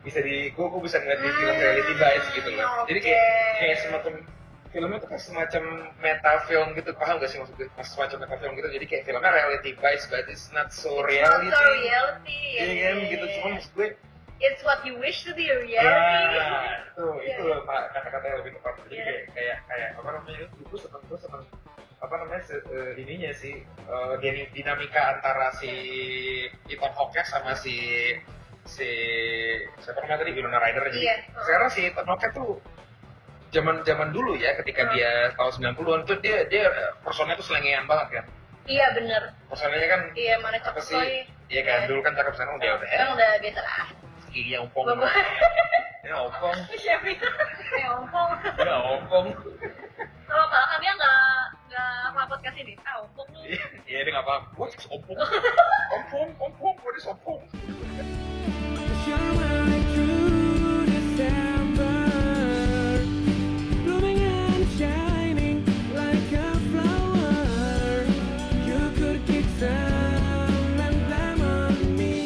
Speaker 1: bisa di gue gue bisa ngeliat di film
Speaker 2: Hmm,
Speaker 1: reality bites gitu loh jadi kayak
Speaker 2: oke.
Speaker 1: kayak semacam filmnya tuh kayak semacam meta film gitu paham gak sih maksud gue Kayak semacam meta film gitu jadi kayak filmnya reality bites but it's not so reality
Speaker 2: It's not the reality. iya.
Speaker 1: Iya kan gitu cuman maksud gue
Speaker 2: It's what you wish to be a reality.
Speaker 1: Ya, itu itu
Speaker 2: Iya.
Speaker 1: Pak, kata-kata yang lebih tepat. Jadi
Speaker 2: Iya.
Speaker 1: kayak kayak kayak apa namanya? Itu seneng gue seneng apa namanya se- eh, ininya sih eh, din- dinamika antara si Ethan Hawke sama si si siapa namanya tadi Winona Ryder jadi
Speaker 2: Iya.
Speaker 1: sekarang si Ethan Hawke tuh zaman zaman dulu ya ketika
Speaker 2: Hmm.
Speaker 1: dia tahun 90-an tuh dia dia personnya tuh selengean banget kan
Speaker 2: Iya bener.
Speaker 1: personanya kan
Speaker 2: Iya mana
Speaker 1: Apa
Speaker 2: cakep
Speaker 1: sih?
Speaker 2: coy.
Speaker 1: ya kan dulu kan cakep sekarang udah udah
Speaker 2: Kan udah biasa lah.
Speaker 1: gigi yang ompong
Speaker 2: Bapak. [laughs]
Speaker 1: ya ompong
Speaker 2: Siapa itu? Ya ompong.
Speaker 1: ya ompong
Speaker 2: Kalau kalau kami nggak nggak upload ke sini. Ah ompong lu.
Speaker 1: Iya, Iya, dia nggak paham. Gue sombong. Sombong, sombong, gue ini sombong.
Speaker 3: Shall I through December, blooming and shining like a flower? You could kick some and blame on me.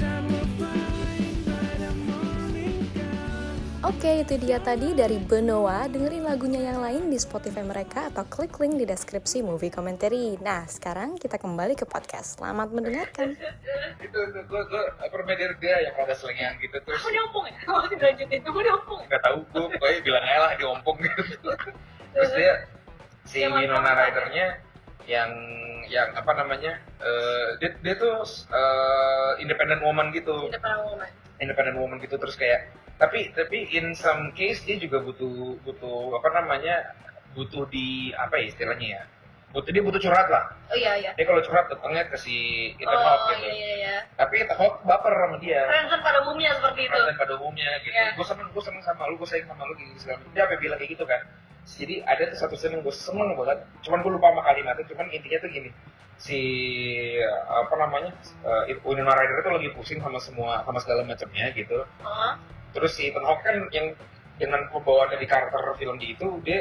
Speaker 3: Time will find by the morning comes.
Speaker 4: Oke, itu dia tadi dari Benoa. Dengerin lagunya yang lain di Spotify mereka atau klik link di deskripsi movie commentary. Nah, sekarang kita kembali ke podcast. Selamat mendengarkan.
Speaker 1: Itu, itu gue, gue permedir dia yang rada selengean gitu terus
Speaker 2: Aku udah ompong ya. Kalau dilanjutin kamu udah ompong. ya?
Speaker 1: nggak tahu gue pokoknya bilang aja lah diompong gitu. Terus dia si
Speaker 2: Yang
Speaker 1: Winona
Speaker 2: mana?
Speaker 1: Ryder-nya yang yang apa namanya eh, dia, dia tuh eh, independent woman gitu
Speaker 2: Di depan omongan.
Speaker 1: independent woman gitu terus kayak tapi tapi in some case dia juga butuh butuh apa namanya butuh di apa ya istilahnya ya butuh dia butuh curhat lah
Speaker 2: Oh iya iya.
Speaker 1: dia kalau curhat datangnya ke si Ethan Hawke
Speaker 2: Oh
Speaker 1: gitu
Speaker 2: iya iya iya.
Speaker 1: tapi Ethan Hawke baper sama dia
Speaker 2: Friendzone pada umumnya seperti itu.
Speaker 1: perasaan pada umumnya gitu
Speaker 2: Iya.
Speaker 1: gue seneng gue seneng sama lu gue sayang sama lu gitu segala macam. dia apa bilang kayak gitu kan jadi ada tuh satu scene yang gue seneng banget cuman gue lupa sama kalimatnya cuman intinya tuh gini si apa namanya uh, Winona Ryder itu lagi pusing sama semua sama segala macamnya gitu
Speaker 2: Oh.
Speaker 1: terus si Ethan Hawke kan yang dengan pembawaannya di karakter film dia itu dia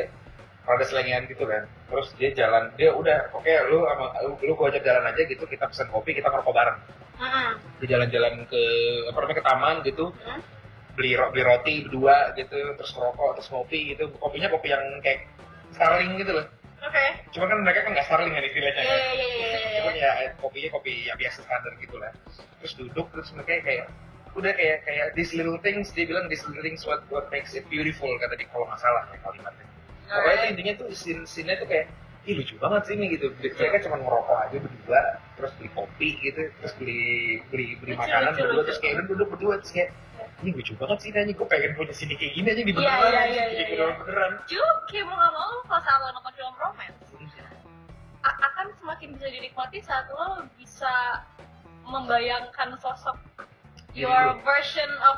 Speaker 1: rada selengean gitu kan terus dia jalan dia udah oke lu sama lu, lu gua ajak jalan aja gitu kita pesan kopi kita ngerokok bareng
Speaker 2: Mm-mm.
Speaker 1: dia jalan-jalan ke apa namanya ke taman gitu
Speaker 2: Hmm?
Speaker 1: beli ro- beli roti berdua gitu terus ngerokok terus ngopi gitu kopinya kopi yang kayak Starling gitu loh
Speaker 2: Oke.
Speaker 1: cuma kan mereka kan nggak Starling kan istilahnya
Speaker 2: Iya
Speaker 1: kan
Speaker 2: iya iya iya, iya.
Speaker 1: cuman ya eh, kopinya kopi yang biasa standar gitu lah terus duduk terus mereka kayak udah kayak kayak these little things dia bilang these little things what what makes it beautiful kata dia kalau nggak salah ya kalimatnya
Speaker 2: Ah,
Speaker 1: pokoknya
Speaker 2: iya.
Speaker 1: tuh intinya tuh scene scene tuh kayak Ih lucu banget sih ini gitu.
Speaker 2: Iya.
Speaker 1: Mereka cuma ngerokok aja berdua, terus beli kopi gitu, terus beli beli beli
Speaker 2: Lucu,
Speaker 1: makanan
Speaker 2: lucu,
Speaker 1: berdua,
Speaker 2: lucu.
Speaker 1: terus kayak udah duduk berdua terus kayak ini lucu banget sih nanya gue pengen punya sini kayak gini aja di
Speaker 2: Iya,
Speaker 1: beneran,
Speaker 2: iya,
Speaker 1: aja,
Speaker 2: iya,
Speaker 1: di
Speaker 2: iya,
Speaker 1: beneran beneran.
Speaker 2: Cukup mau nggak mau kalau saat lo nonton film romance a- akan semakin bisa dinikmati saat lo bisa membayangkan sosok
Speaker 1: Diri
Speaker 2: your
Speaker 1: lo.
Speaker 2: version of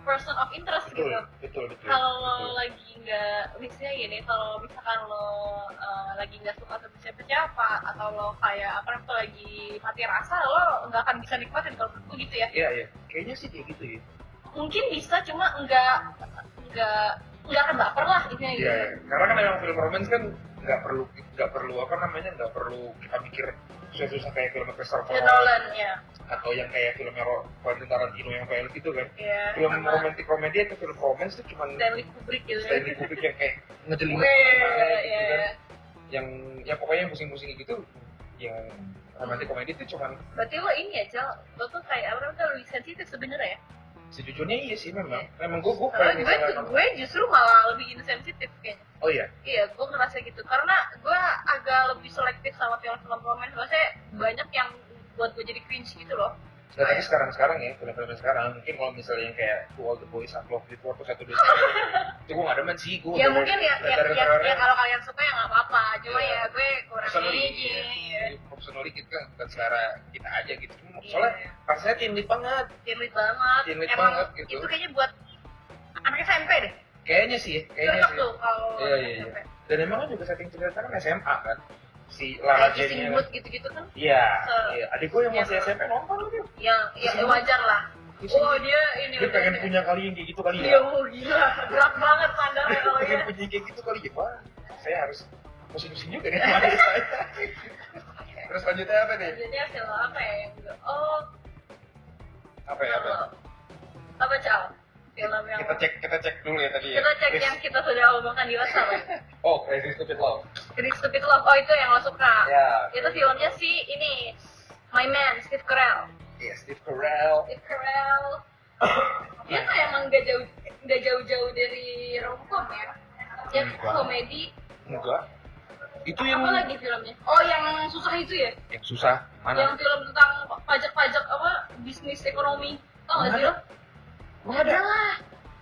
Speaker 2: person of interest
Speaker 1: Betul,
Speaker 2: gitu.
Speaker 1: betul, betul.
Speaker 2: Kalau lo
Speaker 1: betul.
Speaker 2: lagi nggak, misalnya gini, kalau misalkan lo uh, lagi nggak suka sama siapa-siapa atau lo kayak apa namanya lagi mati rasa, lo nggak akan bisa nikmatin kalau menurut gue gitu ya.
Speaker 1: Iya, iya. Kayaknya sih kayak gitu ya.
Speaker 2: mungkin bisa cuma enggak enggak enggak akan baper lah intinya gitu.
Speaker 1: Iya, karena kan emang film romance kan nggak perlu nggak perlu apa namanya nggak perlu kita mikir susah-susah kayak film Christopher
Speaker 2: Christopher Nolan ya.
Speaker 1: atau yang kayak film Quentin Tarantino yang kayak gitu kan.
Speaker 2: Iya.
Speaker 1: Film
Speaker 2: sama
Speaker 1: romantic komedi atau film romance tuh cuman
Speaker 2: Stanley Kubrick gitu.
Speaker 1: Stanley Kubrick yang kayak ngejeling
Speaker 2: Weh, iya,
Speaker 1: gitu kan.
Speaker 2: iya.
Speaker 1: Yang ya pokoknya yang pusing-pusing gitu yang romantic komedi itu cuman
Speaker 2: Berarti lo ini ya, Cel, lo tuh kayak apa namanya lebih sensitif sebenarnya ya?
Speaker 1: sejujurnya iya sih memang. Memang gue gue
Speaker 2: Kalau
Speaker 1: kayak
Speaker 2: gue,
Speaker 1: misalnya-
Speaker 2: gue justru malah lebih insensitif kayaknya.
Speaker 1: oh iya
Speaker 2: Iya, gue ngerasa gitu. Karena gue agak lebih selektif sama film-film romantis. Maksudnya banyak yang buat gue jadi cringe gitu loh.
Speaker 1: Nah, tapi sekarang-sekarang ya, film-film sekarang, mungkin kalau misalnya yang kayak To All The Boys I've Loved Before atau satu dua tiga, itu gue gak demen sih, gue
Speaker 2: ya mungkin ya, ya, ya, ya kalau kalian suka ya nggak apa-apa. Cuma
Speaker 1: Iya.
Speaker 2: ya gue kurang iya.
Speaker 1: personally,
Speaker 2: ini.
Speaker 1: ya. personally kita kan bukan selera kita aja gitu,
Speaker 2: Iya.
Speaker 1: Cuma soalnya rasanya timid banget,
Speaker 2: Timid banget.
Speaker 1: Timid
Speaker 2: Emang
Speaker 1: banget gitu.
Speaker 2: itu kayaknya buat anak SMP deh.
Speaker 1: kayaknya sih, ya, kayaknya
Speaker 2: Cocok
Speaker 1: sih.
Speaker 2: tuh kalau
Speaker 1: Iya, iya,
Speaker 2: SMP.
Speaker 1: Dan emang kan juga setting cerita kan SMA kan, si
Speaker 2: Kayak
Speaker 1: Lara
Speaker 2: kissing
Speaker 1: Jane
Speaker 2: booth gitu-gitu kan.
Speaker 1: Iya,
Speaker 2: So-
Speaker 1: iya. Adik gue yang masih
Speaker 2: Iya.
Speaker 1: SMP nonton lagi.
Speaker 2: Ya, ya wajar lah.
Speaker 1: Kissing
Speaker 2: Oh
Speaker 1: booth.
Speaker 2: dia ini
Speaker 1: Dia pengen punya kali yang kayak gitu kali
Speaker 2: Dia
Speaker 1: ya.
Speaker 2: mau gila, berat banget standarnya kalau
Speaker 1: Pengen
Speaker 2: ya.
Speaker 1: punya kayak gitu kali ya. Wah, saya harus pusing-pusing juga nih. [laughs] saya. Terus lanjutnya apa nih?
Speaker 2: Jadi hasil apa ya yang juga, oh
Speaker 1: apa ya apa?
Speaker 2: apa cal film yang
Speaker 1: kita cek kita cek dulu ya tadi ya
Speaker 2: Kita cek
Speaker 1: Chris-
Speaker 2: yang kita sudah omongkan di WhatsApp ya.
Speaker 1: oh Crazy Stupid Love
Speaker 2: Jadi Stupid Love, oh itu yang lo suka.
Speaker 1: ya
Speaker 2: Itu filmnya si ini, My Man, Steve Carell.
Speaker 1: ya Steve Carell
Speaker 2: Steve Carell, dia tuh emang gak jauh gak jauh-jauh dari romcom ya. Dia
Speaker 1: Hmm, gua-
Speaker 2: komedi,
Speaker 1: enggak itu yang
Speaker 2: apa lagi filmnya? Oh yang susah itu ya?
Speaker 1: yang susah
Speaker 2: Yang
Speaker 1: mana
Speaker 2: film tentang pajak-pajak apa, bisnis ekonomi. Tau gak sih lo?
Speaker 1: Mana ada
Speaker 2: lah.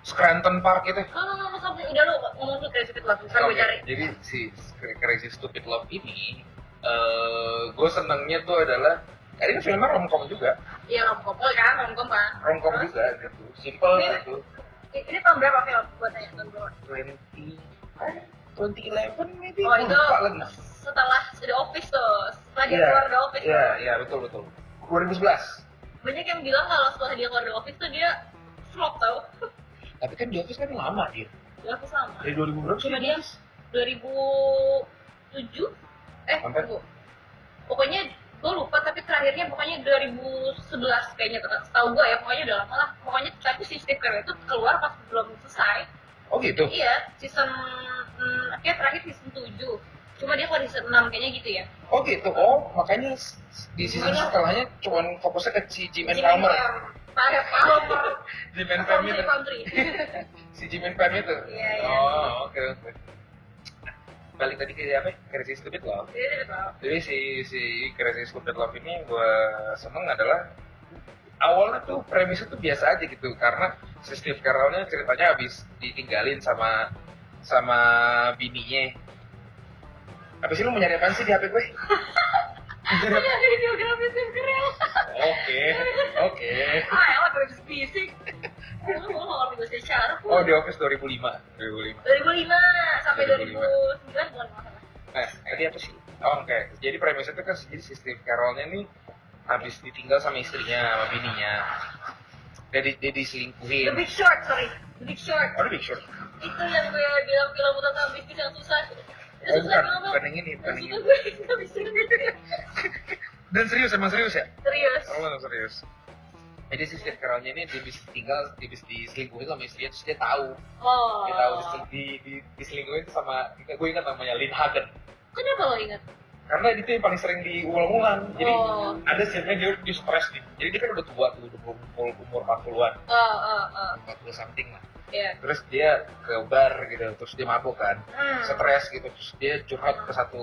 Speaker 1: Scranton Park itu
Speaker 2: Lo ngomong sampai udah lo ngomong tuh Crazy Stupid Love, ntar gue
Speaker 1: Oke,
Speaker 2: cari.
Speaker 1: jadi si Crazy Stupid Love ini eh gue senangnya tuh adalah eh, ini filmnya romcom juga
Speaker 2: Iya romcom, oh kan romcom kan.
Speaker 1: romcom
Speaker 2: Terus?
Speaker 1: juga gitu simple
Speaker 2: Ini-
Speaker 1: gitu
Speaker 2: I- Ini tahun berapa film buat saya tahun berapa?
Speaker 1: 20 eh, 2011 maybe
Speaker 2: Oh
Speaker 1: Gua
Speaker 2: itu
Speaker 1: lupa lagi.
Speaker 2: setelah The Office tuh, setelah dia
Speaker 1: Iya.
Speaker 2: keluar The Office
Speaker 1: Iya,
Speaker 2: tuh.
Speaker 1: iya betul betul 2011
Speaker 2: Banyak yang bilang kalau setelah dia keluar The Office tuh dia flop tau.
Speaker 1: Tapi kan di office kan lama dia.
Speaker 2: The Office lama.
Speaker 1: Dari 2000 berapa sih?
Speaker 2: Cuma dia 2007? Eh,
Speaker 1: Sampai-
Speaker 2: tunggu. Pokoknya gue lupa tapi terakhirnya pokoknya 2011 kayaknya tuh setahu gue ya pokoknya udah lama lah pokoknya tapi si Steve Carell itu keluar pas belum selesai
Speaker 1: Oh gitu.
Speaker 2: Iya, season hmm, kayak terakhir season 7. Cuma dia kalau di season 6 kayaknya gitu ya.
Speaker 1: Oh gitu. Oh makanya s- s- di season
Speaker 2: Gimana?
Speaker 1: setelahnya cuman fokusnya ke si Jim and
Speaker 2: Jimmy
Speaker 1: Palmer.
Speaker 2: Graham, Iya. Palmer, Palmer,
Speaker 1: Jim and Pam
Speaker 2: Palmer,
Speaker 1: itu.
Speaker 2: Palmer.
Speaker 1: Si Jim and Pam itu.
Speaker 2: Iya, iya.
Speaker 1: Oh oke oke. Nah, Balik tadi ke apa? Crazy Stupid Love.
Speaker 2: Jadi dia tahu.
Speaker 1: Jadi si si Crazy Stupid Love ini gue seneng adalah awalnya tuh premisnya tuh biasa aja gitu karena si Steve Carell-nya ceritanya habis ditinggalin sama sama bininya. Apa sih lu mau nyari apaan sih di HP gue?
Speaker 2: Ada videografi sih keren.
Speaker 1: [laughs] Oke, oke.
Speaker 2: Ah, elah gue habis bisik. Lu mau ngomong gue sih Syarif.
Speaker 1: Oh, di Office 2005. 2005.
Speaker 2: 2005 sampai
Speaker 1: 2005.
Speaker 2: 2009 bukan masalah.
Speaker 1: Nah, tadi apa sih? Oh, oke. Jadi premisnya itu kan jadi si Steve Carroll-nya nih habis ditinggal sama istrinya, sama bininya. Dia, di, dia
Speaker 2: The
Speaker 1: diselingkuhin.
Speaker 2: Big Short, sorry. The Big Short.
Speaker 1: Oh, The Big Short.
Speaker 2: Itu yang gue bilang film tentang bisnis yang susah. Itu
Speaker 1: Oh,
Speaker 2: susah
Speaker 1: bukan.
Speaker 2: banget.
Speaker 1: Bukan yang ini, bukan yang
Speaker 2: Maksudnya
Speaker 1: ini.
Speaker 2: gue [laughs] nggak bisa
Speaker 1: Dan serius, emang serius ya?
Speaker 2: Serius.
Speaker 1: Oh, emang serius. Jadi si Steve Carroll-nya ini dia bisa tinggal, dia bisa diselingkuhin sama istrinya, terus dia tahu.
Speaker 2: Oh.
Speaker 1: Dia tahu disel- di, di, diselingkuhin sama, gue ingat namanya, Lynn Hagen.
Speaker 2: Kenapa lo ingat?
Speaker 1: Karena itu yang paling sering diulang-ulang. Jadi,
Speaker 2: oh.
Speaker 1: ada scene-nya dia, dia stres nih. Jadi dia kan udah tua tuh, udah umur, umur 40-an,
Speaker 2: Oh, oh,
Speaker 1: 40
Speaker 2: oh.
Speaker 1: something lah.
Speaker 2: Iya.
Speaker 1: Terus dia ke bar gitu, terus dia mabuk kan,
Speaker 2: Hmm.
Speaker 1: stres gitu. Terus dia curhat ke satu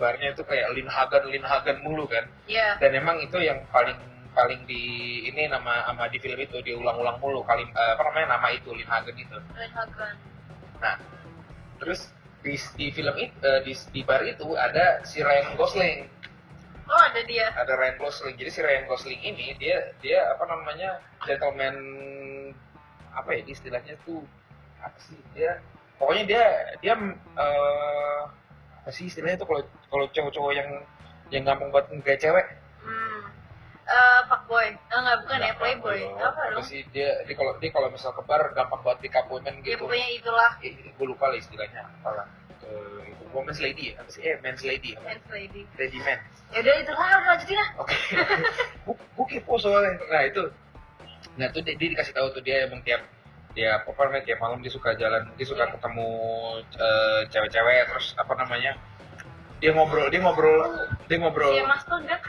Speaker 1: barnya itu kayak Lin Hagen, Lin Hagen mulu kan.
Speaker 2: Iya.
Speaker 1: Dan emang itu yang paling paling di ini nama nama di film itu diulang-ulang mulu kali eh, apa namanya nama itu Lin Hagen itu. Nah,
Speaker 2: Glenn Hogan.
Speaker 1: Terus di, di film itu eh, di, di bar itu ada si Ryan Gosling.
Speaker 2: Oh, ada dia.
Speaker 1: ada Ryan Gosling. Jadi si Ryan Gosling ini dia dia apa namanya gentleman apa ya istilahnya tuh apa sih dia pokoknya dia dia eh, apa sih istilahnya tuh kalau kalau cowok-cowok yang yang gampang buat nggak cewek
Speaker 2: Hmm. Eh, pak fuckboy. Ah enggak bukan ya playboy. Apa
Speaker 1: Iya, Apa
Speaker 2: dong?
Speaker 1: sih dia dia kalau dia kalau misal ke bar gampang buat pick up women
Speaker 2: Ya
Speaker 1: gitu.
Speaker 2: pokoknya itulah
Speaker 1: Eh, gue lupa lah istilahnya apa lah. Eh, itu women's lady ya? Apa sih? Eh, men's lady. Apa?
Speaker 2: Men's lady.
Speaker 1: Lady man.
Speaker 2: Yaudah itulah Ya udah lanjutin lah.
Speaker 1: Oke. Gue kepo soalnya. Nah itu. Nah itu dia, dia dikasih tahu tuh dia emang tiap dia apa namanya tiap malam dia suka jalan dia suka
Speaker 2: Iya.
Speaker 1: ketemu eh, cewek-cewek terus apa namanya dia ngobrol dia ngobrol dia ngobrol
Speaker 2: Si Iya, Mas tuh enggak.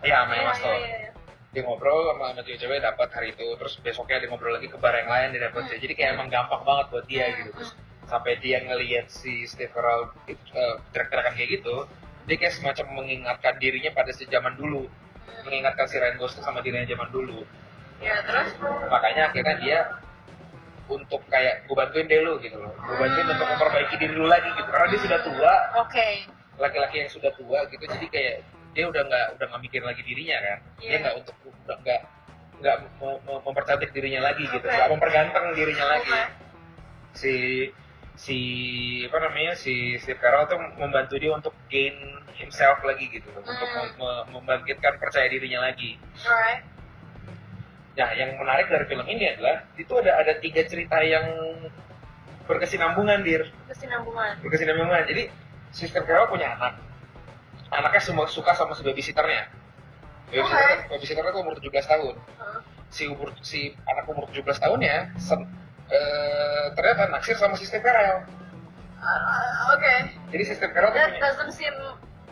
Speaker 1: ya sama Mas
Speaker 2: Iya,
Speaker 1: Tol.
Speaker 2: iya, iya.
Speaker 1: dia ngobrol sama sama cewek-cewek dapat hari itu terus besoknya dia ngobrol lagi ke bar yang lain dia dapat
Speaker 2: Hmm.
Speaker 1: jadi kayak emang gampang banget buat dia
Speaker 2: Hmm,
Speaker 1: gitu terus sampai dia ngelihat si Steve Carell itu, eh, gerak-gerakan kayak gitu dia kayak semacam mengingatkan dirinya pada sejaman dulu mengingatkan si Ryan Gosling sama dirinya zaman dulu
Speaker 2: Ya terus
Speaker 1: makanya akhirnya dia untuk kayak gue bantuin deh lu gitu loh gue bantuin
Speaker 2: Hmm.
Speaker 1: untuk memperbaiki diri lu lagi gitu karena dia sudah tua
Speaker 2: oke.
Speaker 1: laki-laki yang sudah tua gitu jadi kayak dia udah nggak udah nggak mikir lagi dirinya kan dia
Speaker 2: Iya.
Speaker 1: nggak untuk udah nggak nggak me- me- mempercantik dirinya lagi gitu
Speaker 2: Oke.
Speaker 1: nggak memperganteng dirinya lagi
Speaker 2: Oke.
Speaker 1: si si apa namanya si Steve Carell tuh membantu dia untuk gain himself lagi gitu loh, untuk
Speaker 2: Hmm.
Speaker 1: mem- mem- membangkitkan percaya dirinya lagi
Speaker 2: Alright.
Speaker 1: Nah, yang menarik dari film ini adalah itu ada ada tiga cerita yang berkesinambungan dir,
Speaker 2: Kesinambungan.
Speaker 1: berkesinambungan. Jadi Sister Carol punya anak, anaknya semua suka sama si babysitternya. Babysitternya, babysitternya tuh umur 17 tahun.
Speaker 2: Heeh.
Speaker 1: Si umur si anak umur 17 tahunnya ya, sem- eh, ternyata naksir sama Sister Carol.
Speaker 2: Ah, Oke.
Speaker 1: Jadi Sister Carol tuh
Speaker 2: That
Speaker 1: punya
Speaker 2: doesn't seem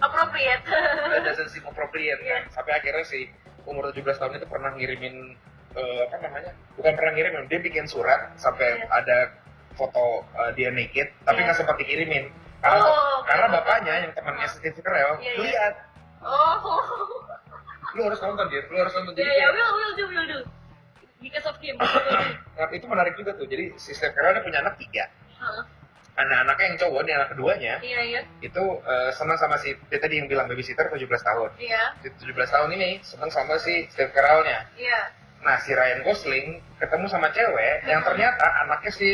Speaker 2: appropriate. [laughs]
Speaker 1: that doesn't seem appropriate.
Speaker 2: Iya.
Speaker 1: kan? Sampai akhirnya si umur 17 tahun itu pernah ngirimin eh, apa namanya? Bukan pernah ngirimin, dia bikin surat sampai
Speaker 2: Iya.
Speaker 1: ada foto eh, dia naked, tapi
Speaker 2: Iya.
Speaker 1: nggak sempat dikirimin. Karena,
Speaker 2: Oh,
Speaker 1: karena
Speaker 2: kenapa?
Speaker 1: bapaknya yang temannya
Speaker 2: Ah.
Speaker 1: Steve Carell,
Speaker 2: Iya,
Speaker 1: lu
Speaker 2: iya.
Speaker 1: lihat,
Speaker 2: oh.
Speaker 1: lu harus nonton dia, lu harus nonton
Speaker 2: Ya
Speaker 1: jadi
Speaker 2: ya
Speaker 1: kayak-
Speaker 2: will will do will do. Because of him. Will do.
Speaker 1: Nah, itu menarik juga tuh. Jadi si Steve Carell dia punya anak tiga.
Speaker 2: Heeh.
Speaker 1: Anak-anaknya yang cowok, ini anak keduanya,
Speaker 2: Iya iya
Speaker 1: itu eh, senang sama si, dia tadi yang bilang babysitter 17 tahun.
Speaker 2: iya
Speaker 1: Si 17 tahun ini senang sama si Steve Carell-nya.
Speaker 2: iya.
Speaker 1: Nah, si Ryan Gosling ketemu sama cewek yang ternyata anaknya si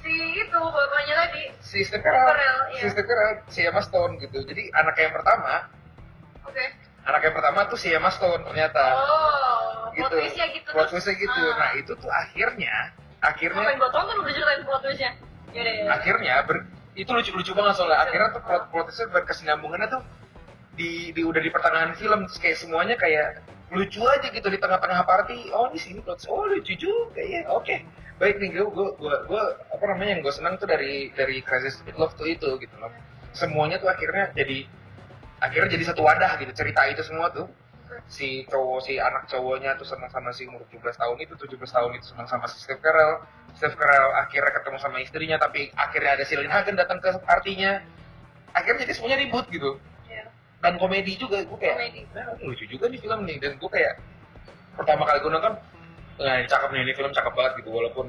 Speaker 2: Si itu bapaknya tadi.
Speaker 1: si Steve Carell,
Speaker 2: Carell, iya.
Speaker 1: si Steve Carell, si Emma Stone gitu. Jadi anaknya yang pertama,
Speaker 2: Oke.
Speaker 1: anak yang pertama tuh si Emma Stone ternyata.
Speaker 2: Oh. Plot twistnya gitu.
Speaker 1: Ah, Plot
Speaker 2: terus.
Speaker 1: twistnya gitu.
Speaker 2: Ah.
Speaker 1: Nah, itu tuh akhirnya
Speaker 2: Ngapain
Speaker 1: akhirnya Nah,
Speaker 2: gua tonton udah ceritain plot twistnya. Ya deh.
Speaker 1: akhirnya ber- itu lucu-lucu banget soalnya
Speaker 2: Lucu.
Speaker 1: akhirnya tuh plot plot twistnya berkesinambungannya tuh di, di udah di pertengahan film terus kayak semuanya kayak lucu aja gitu di tengah-tengah party oh ini sini plot twist. oh lucu juga ya oke baik nih gue gue gue gue apa namanya yang gue senang tuh dari dari Crazy Stupid Love tuh itu gitu loh semuanya tuh akhirnya jadi akhirnya jadi satu wadah gitu cerita itu semua tuh si cowok si anak cowoknya tuh senang sama si umur 17 tahun itu 17 tahun itu senang sama si Steve Carell Steve Carell akhirnya ketemu sama istrinya tapi akhirnya ada si Lin Hagen datang ke partinya akhirnya jadi semuanya ribut gitu
Speaker 2: Iya.
Speaker 1: dan komedi juga gue kayak
Speaker 2: Komedi.
Speaker 1: "Nah, lucu juga nih film nih dan gue kayak pertama kali gue nonton nah ini cakep nih ini film cakep banget gitu walaupun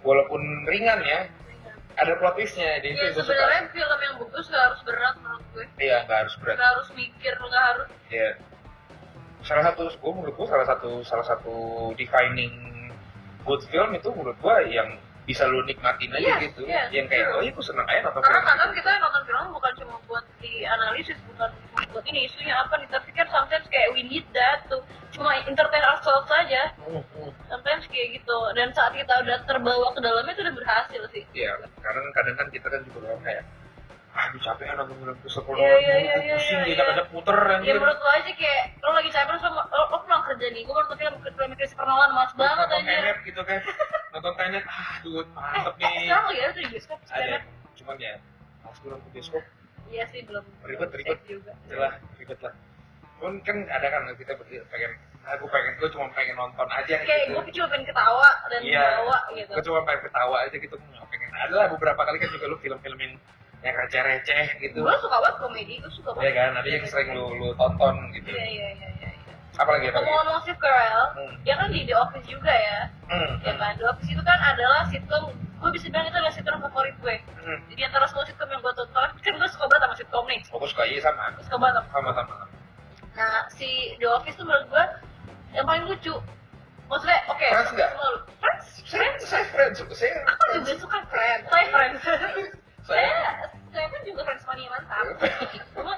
Speaker 1: walaupun ringan ya ada plot twistnya di
Speaker 2: Ya
Speaker 1: itu gue
Speaker 2: sebenarnya
Speaker 1: suka
Speaker 2: film yang bagus gak harus berat menurut gue.
Speaker 1: iya nggak harus berat
Speaker 2: Gak harus mikir, gak harus.
Speaker 1: ya salah satu gue menurut gue salah satu salah satu defining good film itu menurut gue yang bisa lu nikmatin aja
Speaker 2: Iya,
Speaker 1: gitu
Speaker 2: iya,
Speaker 1: yang kayak
Speaker 2: betul.
Speaker 1: oh iya gue seneng aja nonton
Speaker 2: Karena
Speaker 1: film
Speaker 2: kadang
Speaker 1: gitu."
Speaker 2: kita nonton film bukan cuma buat dianalisis, bukan cuma buat ini isunya apa nih, tapi kan sometimes kayak we need that tuh. Cuma entertain ourselves aja,
Speaker 1: Hmm, hmm.
Speaker 2: sometimes kayak gitu. Dan saat kita udah terbawa ke dalamnya itu udah berhasil sih.
Speaker 1: Iya, karena kadang kan kita kan juga orang kayak aduh capek kan nonton film terus sekolah
Speaker 2: Iya, iya, iya,
Speaker 1: mulu,
Speaker 2: iya,
Speaker 1: pusing
Speaker 2: iya,
Speaker 1: kita
Speaker 2: iya.
Speaker 1: kadang puter
Speaker 2: Ya
Speaker 1: anjir
Speaker 2: menurut lo aja kayak lo lagi capek terus lo, lo, lo pulang kerja nih, gue baru nonton film film Christopher Nolan mas banget
Speaker 1: nonton
Speaker 2: aja.
Speaker 1: tenet gitu kan nonton tenet ah dude
Speaker 2: Eh,
Speaker 1: mantep
Speaker 2: eh,
Speaker 1: nih
Speaker 2: sekarang lagi ada tuh di bioskop
Speaker 1: ada
Speaker 2: sekarang.
Speaker 1: cuman ya harus pulang ke bioskop
Speaker 2: Iya sih belum.
Speaker 1: Ribet,
Speaker 2: belum
Speaker 1: ribet.
Speaker 2: safe juga.
Speaker 1: itulah ribet lah pun kan ada kan kita berarti pengen aku pengen gue cuma pengen nonton aja
Speaker 2: Kayak
Speaker 1: gitu
Speaker 2: gue cuma pengen ketawa dan
Speaker 1: Iya.
Speaker 2: ketawa gitu.
Speaker 1: gue cuma pengen ketawa aja gitu gue nggak pengen ada lah beberapa kali kan juga lu film-filmin yang receh-receh gitu
Speaker 2: Gue suka banget komedi, gue suka
Speaker 1: ya
Speaker 2: banget.
Speaker 1: kan ada yang sering lu lu tonton gitu
Speaker 2: Iya iya iya iya. iya.
Speaker 1: apalagi apa gitu? lagi
Speaker 2: Ngomong-ngomong Steve Carell,
Speaker 1: Hmm.
Speaker 2: dia kan di The Office juga ya.
Speaker 1: Hmm,
Speaker 2: Ya kan, The Office itu kan adalah sitcom, gue bisa bilang itu adalah sitcom favorit gue.
Speaker 1: hmm.
Speaker 2: Jadi antara semua sitcom yang gue tonton, kan gue suka banget sama sitcom nih.
Speaker 1: Oh, gue suka iya sama
Speaker 2: Gue suka banget sama
Speaker 1: sama sama
Speaker 2: Nah, si The Office tuh menurut gue yang paling lucu. Maksudnya, oke,
Speaker 1: Friends nggak?
Speaker 2: semua lu- Friends?
Speaker 1: saya
Speaker 2: Friends?
Speaker 1: saya friends saya
Speaker 2: Aku juga suka Friends. Saya Friends.
Speaker 1: [laughs]
Speaker 2: saya,
Speaker 1: saya
Speaker 2: saya pun juga Friends mania mantap. cuma,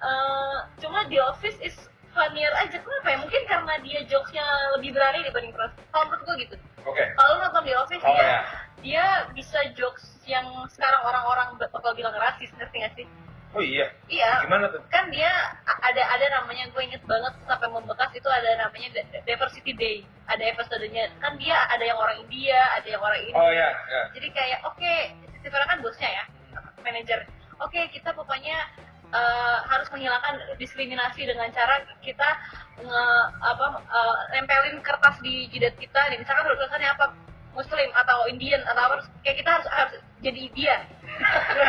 Speaker 2: eh, cuma The Office is funnier aja. Kenapa ya? Mungkin karena karena dia jokesnya lebih berani dibanding Friends kalau menurut gue gitu
Speaker 1: Oke.
Speaker 2: kalau lu nonton The Office
Speaker 1: Oh
Speaker 2: dia,
Speaker 1: ya.
Speaker 2: dia bisa jokes yang sekarang orang-orang bakal bilang rasis ngerti gak sih
Speaker 1: Oh iya.
Speaker 2: iya
Speaker 1: Gimana tuh?
Speaker 2: kan dia a- ada ada namanya gue inget banget sampai membekas itu ada namanya D- diversity day ada episodenya kan dia ada yang orang India ada yang orang India
Speaker 1: Oh ya, ya.
Speaker 2: jadi kayak oke si Vera kan bosnya ya manajer oke kita pokoknya eh, harus menghilangkan diskriminasi dengan cara kita nge apa eh, nempelin kertas di jidat kita nih misalkan tulisannya apa Muslim atau Indian atau apa kayak kita harus harus jadi India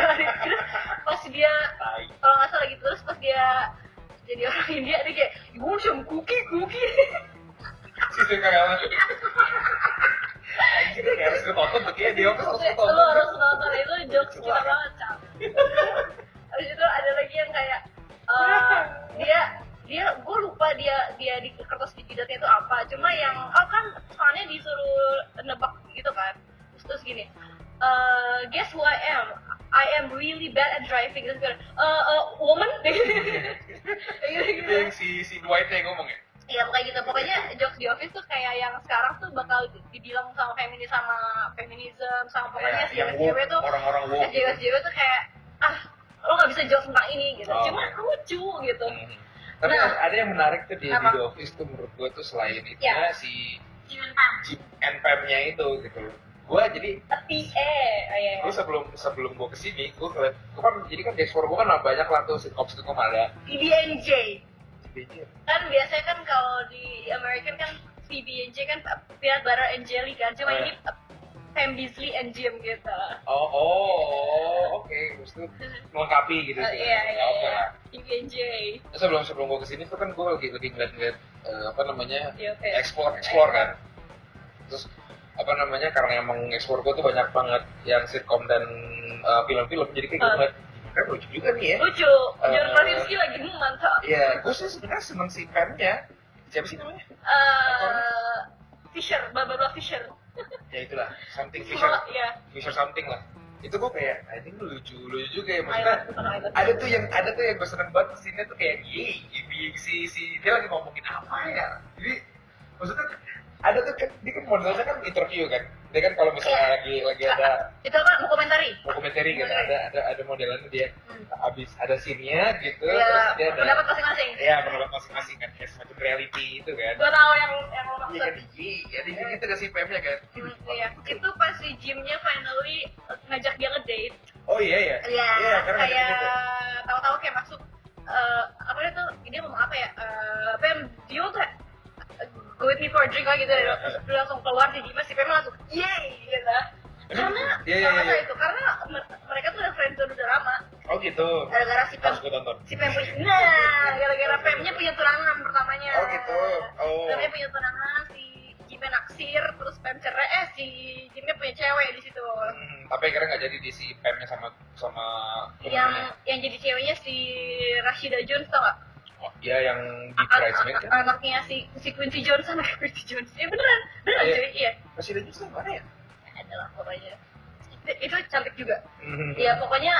Speaker 2: [laughs] terus pas dia
Speaker 1: Tai.
Speaker 2: kalau nggak salah gitu terus pas dia jadi orang India dia kayak gue cuma kuki kuki
Speaker 1: Situ kayak Anjir, kayak harus ketonton tuh kayak Iya, dia kan harus ketonton.
Speaker 2: lo harus nonton itu jokes gila banget cap habis itu ada lagi yang kayak eh, dia dia gue lupa dia dia di kertas di jidatnya itu apa cuma
Speaker 1: Hmm.
Speaker 2: yang oh kan soalnya disuruh nebak gitu kan terus, terus gini eh, guess who I am I am really bad at driving terus gue eh eh, woman
Speaker 1: [laughs] Iya,
Speaker 2: gitu kan.
Speaker 1: Itu yang si si Dwight yang ngomong ya.
Speaker 2: Iya kayak gitu. Pokoknya jokes di office tuh kayak yang sekarang tuh bakal dibilang sama feminis sama feminisme sama pokoknya si
Speaker 1: Ya, Iya, yang
Speaker 2: cewek
Speaker 1: woke,
Speaker 2: tuh
Speaker 1: orang-orang woke. gitu.
Speaker 2: cewek tuh kayak ah lo nggak bisa jokes tentang ini gitu.
Speaker 1: Oh.
Speaker 2: Cuma lucu gitu.
Speaker 1: Mhm. Tapi
Speaker 2: Nah.
Speaker 1: ada yang menarik tuh di, di
Speaker 2: Apa?
Speaker 1: The Office tuh menurut gue tuh selain itu
Speaker 2: Ya.
Speaker 1: si
Speaker 2: Cuman pam.
Speaker 1: Jim and Pam-nya itu gitu. Gue jadi
Speaker 2: Tapi eh oh, iya,
Speaker 1: gue
Speaker 2: iya.
Speaker 1: sebelum sebelum gue kesini gue ngeliat gue kan jadi kan dashboard gue kan banyak lah tuh sitcom sitcom ada
Speaker 2: PB&J
Speaker 1: jadi
Speaker 2: kan biasanya kan kalau di American kan PB&J kan peanut butter and jelly kan. Cuma
Speaker 1: Oh, iya.
Speaker 2: ini Pam Beasley and Jim gitu.
Speaker 1: oh oh, oh oke terus tuh melengkapi gitu
Speaker 2: Oh,
Speaker 1: sih
Speaker 2: iya iya.
Speaker 1: oke
Speaker 2: iya.
Speaker 1: lah
Speaker 2: PB&J
Speaker 1: Terus sebelum sebelum gue kesini tuh kan gue lagi lagi ngeliat-ngeliat eh, apa namanya
Speaker 2: di office.
Speaker 1: explore explore kan terus apa namanya karena emang explore gue tuh banyak banget yang sitcom dan eh, film-film jadi kayak gue
Speaker 2: Ah.
Speaker 1: ngeliat kan lucu juga nih ya
Speaker 2: lucu John Krasinski lagi hmm, mantap
Speaker 1: Iya, gue sih sebenarnya seneng si Pam-nya. Siapa sih namanya?
Speaker 2: Eh, Fisher Barbara Fisher
Speaker 1: Ya itulah, something Fisher,
Speaker 2: Semua- ya
Speaker 1: Fisher something lah. Itu gue kayak, anjing lu lucu, lucu juga ya maksudnya.
Speaker 2: Island, bukan Island.
Speaker 1: Ada tuh yang ada tuh yang gue seneng banget sini tuh kayak gini, si si dia lagi ngomongin apa ya? Jadi maksudnya ada tuh kan dia kan modelnya kan interview kan. Dia kan kalau
Speaker 2: Iya.
Speaker 1: misalnya lagi lagi ada
Speaker 2: itu apa dokumentari
Speaker 1: dokumenter gitu ada ada ada modelannya dia
Speaker 2: Iya. Hmm.
Speaker 1: habis ada scene-nya gitu terus
Speaker 2: ya
Speaker 1: dia ada
Speaker 2: pendapat masing-masing
Speaker 1: ya pendapat masing-masing kan kayak semacam reality itu kan
Speaker 2: gua tahu yang yang
Speaker 1: Iya
Speaker 2: lo maksud
Speaker 1: kan, iya kan, iya kita kasih PM-nya kan.
Speaker 2: Hmm, Iya, itu pas si Jimnya finally eh, ngajak dia ngedate.
Speaker 1: Oh iya iya.
Speaker 2: Iya,
Speaker 1: karena ada
Speaker 2: kayak
Speaker 1: gitu.
Speaker 2: tahu-tahu kayak masuk eh, apa itu dia ngomong apa ya? Eh, Pam, do you want to eh, go with me for a drink lah gitu
Speaker 1: Iya,
Speaker 2: Terus dia langsung keluar si Jimnya si Pam langsung yay gitu. Karena
Speaker 1: Iya, iya,
Speaker 2: karena
Speaker 1: iya.
Speaker 2: itu karena mer- mereka tuh udah friendzone udah lama
Speaker 1: Oh gitu.
Speaker 2: gara-gara si Pam
Speaker 1: Harus gue tonton.
Speaker 2: si Pam punya nah gara-gara Pamnya punya tunangan pertamanya.
Speaker 1: Oh gitu. Oh.
Speaker 2: Pamnya punya tunangan si Jimnya naksir terus Pam cerai eh si Jimnya punya cewek di situ.
Speaker 1: Hmm, tapi akhirnya nggak jadi di si PM-nya sama sama
Speaker 2: Yang
Speaker 1: temennya.
Speaker 2: yang jadi ceweknya si Rashida Jones tau gak?
Speaker 1: Oh, Iya yang di
Speaker 2: Anak-
Speaker 1: Bridesmaid kan.
Speaker 2: anaknya si si Quincy Jones sama [laughs] Quincy Jones. Ya beneran, beneran
Speaker 1: Iya.
Speaker 2: cuy, iya.
Speaker 1: Masih ada juga mana ya?
Speaker 2: Adalah pokoknya. Itu, itu cantik juga.
Speaker 1: Hmm.
Speaker 2: Iya pokoknya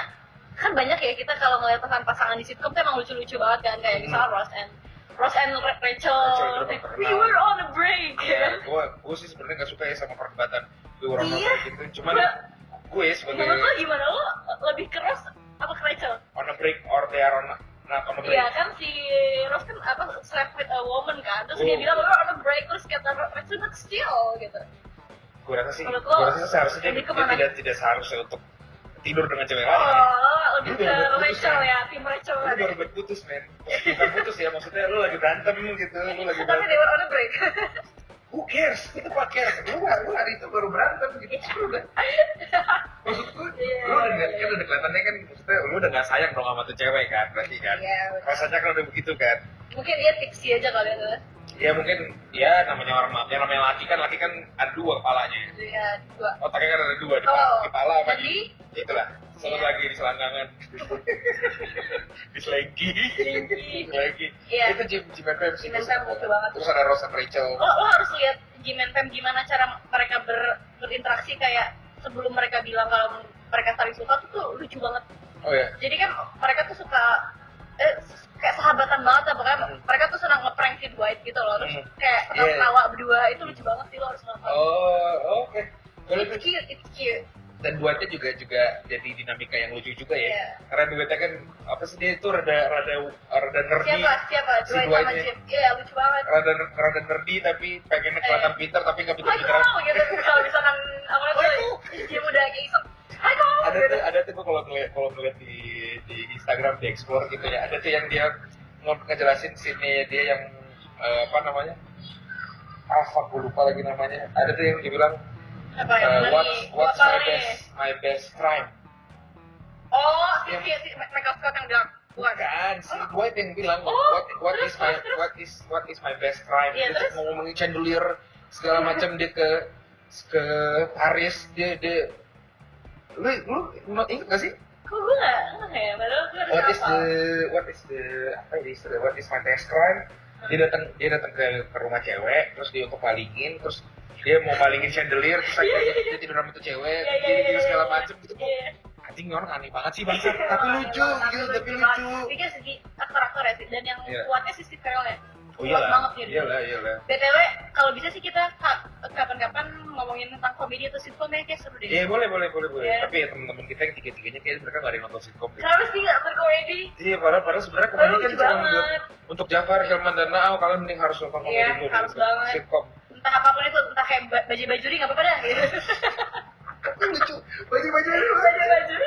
Speaker 2: kan banyak ya kita kalau ngeliat pasangan-pasangan di sitcom tuh emang lucu-lucu banget kan kayak misalnya Ross and Ross and Ra- Rachel,
Speaker 1: Rachel itu udah
Speaker 2: we
Speaker 1: terkenal.
Speaker 2: were on a break.
Speaker 1: [laughs]
Speaker 2: ya kan?
Speaker 1: Iya, gue gue sih sebenarnya nggak suka ya sama perdebatan dua orang
Speaker 2: Iya.
Speaker 1: orang gitu. Cuman
Speaker 2: Gua-
Speaker 1: gue sebagai
Speaker 2: Menurut lo gimana lo lebih ke Ross apa ke Rachel?
Speaker 1: on a break or they are on a, not on a break.
Speaker 2: Iya kan si Ross kan apa slept with a woman kan
Speaker 1: Oh.
Speaker 2: terus dia bilang we're on a break terus kata Rachel but still gitu.
Speaker 1: Gue rasa sih,
Speaker 2: Menurut lo,
Speaker 1: gue rasa seharusnya dia,
Speaker 2: lebih
Speaker 1: dia
Speaker 2: kemana?
Speaker 1: tidak tidak seharusnya untuk tidur dengan cewek lain. ya.
Speaker 2: Oh lo lebih
Speaker 1: Ini
Speaker 2: ke
Speaker 1: udah putus,
Speaker 2: Rachel
Speaker 1: kan?
Speaker 2: ya tim Rachel.
Speaker 1: lu baru buat putus men bukan putus ya maksudnya lu lagi berantem gitu lu lagi
Speaker 2: Tapi they
Speaker 1: berantem
Speaker 2: were on a break. [laughs]
Speaker 1: who cares itu pak cares lu hari, lu hari itu baru berantem gitu Terus udah maksud gue
Speaker 2: Iya.
Speaker 1: lu udah kan udah kelihatannya kan maksudnya lu udah gak sayang dong sama tuh cewek kan berarti kan
Speaker 2: Iya, betul.
Speaker 1: rasanya kan udah begitu kan
Speaker 2: Mungkin dia tipsy aja kali ya.
Speaker 1: ya mungkin ya namanya orang yang namanya laki kan laki kan ada dua kepalanya
Speaker 2: Iya dua.
Speaker 1: otaknya kan ada dua di
Speaker 2: Oh,
Speaker 1: kepala- kepala sama
Speaker 2: jadi?
Speaker 1: di ya itulah satu
Speaker 2: Iya.
Speaker 1: lagi di
Speaker 2: [laughs]
Speaker 1: selangkangan di selengki
Speaker 2: Selengki.
Speaker 1: lagi
Speaker 2: Iya.
Speaker 1: itu Jim Jim and Pam sih
Speaker 2: Jim and Pam lucu banget.
Speaker 1: terus ada Rosa Rachel
Speaker 2: lo, lo harus lihat Jim and Pam gimana cara mereka ber- berinteraksi kayak sebelum mereka bilang kalau mereka saling suka tuh, tuh lucu banget
Speaker 1: oh ya
Speaker 2: jadi kan mereka tuh suka eh, kayak sahabatan banget lah pokoknya
Speaker 1: Hmm.
Speaker 2: mereka tuh senang ngeprank Kid White gitu loh terus
Speaker 1: Hmm.
Speaker 2: kayak pernah
Speaker 1: Yeah.
Speaker 2: ketawa berdua itu lucu banget sih lo harus nonton
Speaker 1: Oh, oke. Boleh
Speaker 2: it's
Speaker 1: tuh.
Speaker 2: cute it's cute
Speaker 1: Dan buatnya juga juga jadi dinamika yang lucu juga ya.
Speaker 2: Iya.
Speaker 1: Karena duetnya kan apa sih dia itu rada rada rada nerdy,
Speaker 2: siapa siapa
Speaker 1: si
Speaker 2: Dwight sama
Speaker 1: Dwight-nya.
Speaker 2: Jim iya lucu banget
Speaker 1: rada rada nerdy tapi pengen kelihatan
Speaker 2: Eh.
Speaker 1: pintar tapi nggak
Speaker 2: Hai
Speaker 1: pintar-pintar.
Speaker 2: kamu gitu kalau misalkan apa namanya
Speaker 1: Michael.
Speaker 2: dia udah kayak iseng Hai kamu
Speaker 1: Oh, Ada
Speaker 2: gitu
Speaker 1: tuh ada tuh gua kalau ngeliat kalau ngeliat di di Instagram di explore gitu ya. Ada tuh yang dia mau ngejelasin sini dia yang eh, apa namanya? Ah, fuck, gua lupa lagi namanya. Ada tuh yang dibilang
Speaker 2: apa Oh, yang
Speaker 1: eh,
Speaker 2: lagi
Speaker 1: what's what's my
Speaker 2: apa nih?
Speaker 1: best my best crime.
Speaker 2: oh si
Speaker 1: Yang- Iya.
Speaker 2: si si Michael Scott yang bilang bukan
Speaker 1: Bukan, Kan, si Dwight yang bilang
Speaker 2: Oh,
Speaker 1: what, what is
Speaker 2: terus,
Speaker 1: my
Speaker 2: terus, terus.
Speaker 1: what is what is my best crime.
Speaker 2: Iya,
Speaker 1: Dia
Speaker 2: terus? Iya.
Speaker 1: mau ngomongin chandelier segala macam dia ke ke Paris dia dia lu lu no- ingat gak sih
Speaker 2: kok gue nggak nggak ya padahal gue
Speaker 1: what
Speaker 2: harus
Speaker 1: is the what is the apa ya istilah what is my best crime dia datang dia datang ke, ke rumah cewek terus dia untuk palingin terus dia mau palingin chandelier terus
Speaker 2: Iya,
Speaker 1: akhirnya
Speaker 2: iya,
Speaker 1: dia tidur sama tuh cewek
Speaker 2: Iya, iya,
Speaker 1: jadi
Speaker 2: iya,
Speaker 1: dia segala
Speaker 2: iya.
Speaker 1: macam gitu kok
Speaker 2: Iya.
Speaker 1: anjing ini orang aneh banget sih bangsa tapi lucu
Speaker 2: Nah,
Speaker 1: gitu tapi
Speaker 2: iya,
Speaker 1: lucu
Speaker 2: Pikir kan segi aktor-aktor ya sih, dan yang
Speaker 1: Iya.
Speaker 2: kuatnya sih Steve Carell ya.
Speaker 1: oh
Speaker 2: Kuat banget
Speaker 1: iyalah
Speaker 2: dia.
Speaker 1: iyalah iyalah
Speaker 2: BTW, kalau bisa sih kita ka- kapan-kapan ngomongin tentang komedi atau sitcom ya, kayak seru deh.
Speaker 1: Iya boleh boleh boleh boleh.
Speaker 2: Iya.
Speaker 1: Tapi ya teman-teman kita yang tiga-tiganya kayak mereka nggak ada yang nonton sitcom. deh.
Speaker 2: Kenapa sih nggak berkomedi?
Speaker 1: Iya padahal padahal sebenarnya
Speaker 2: Aduh,
Speaker 1: kemarin kan
Speaker 2: lucu
Speaker 1: cuma buat
Speaker 2: banget.
Speaker 1: untuk Jafar, Hilman dan Nao kalian mending harus nonton komedi
Speaker 2: Iya,
Speaker 1: dulu,
Speaker 2: harus
Speaker 1: gitu.
Speaker 2: banget.
Speaker 1: Sitcom.
Speaker 2: Entah apapun itu, entah kayak ba- baju-bajuri nggak apa-apa dah. Gitu.
Speaker 1: Tapi lucu. Baju baju
Speaker 2: Baju-bajuri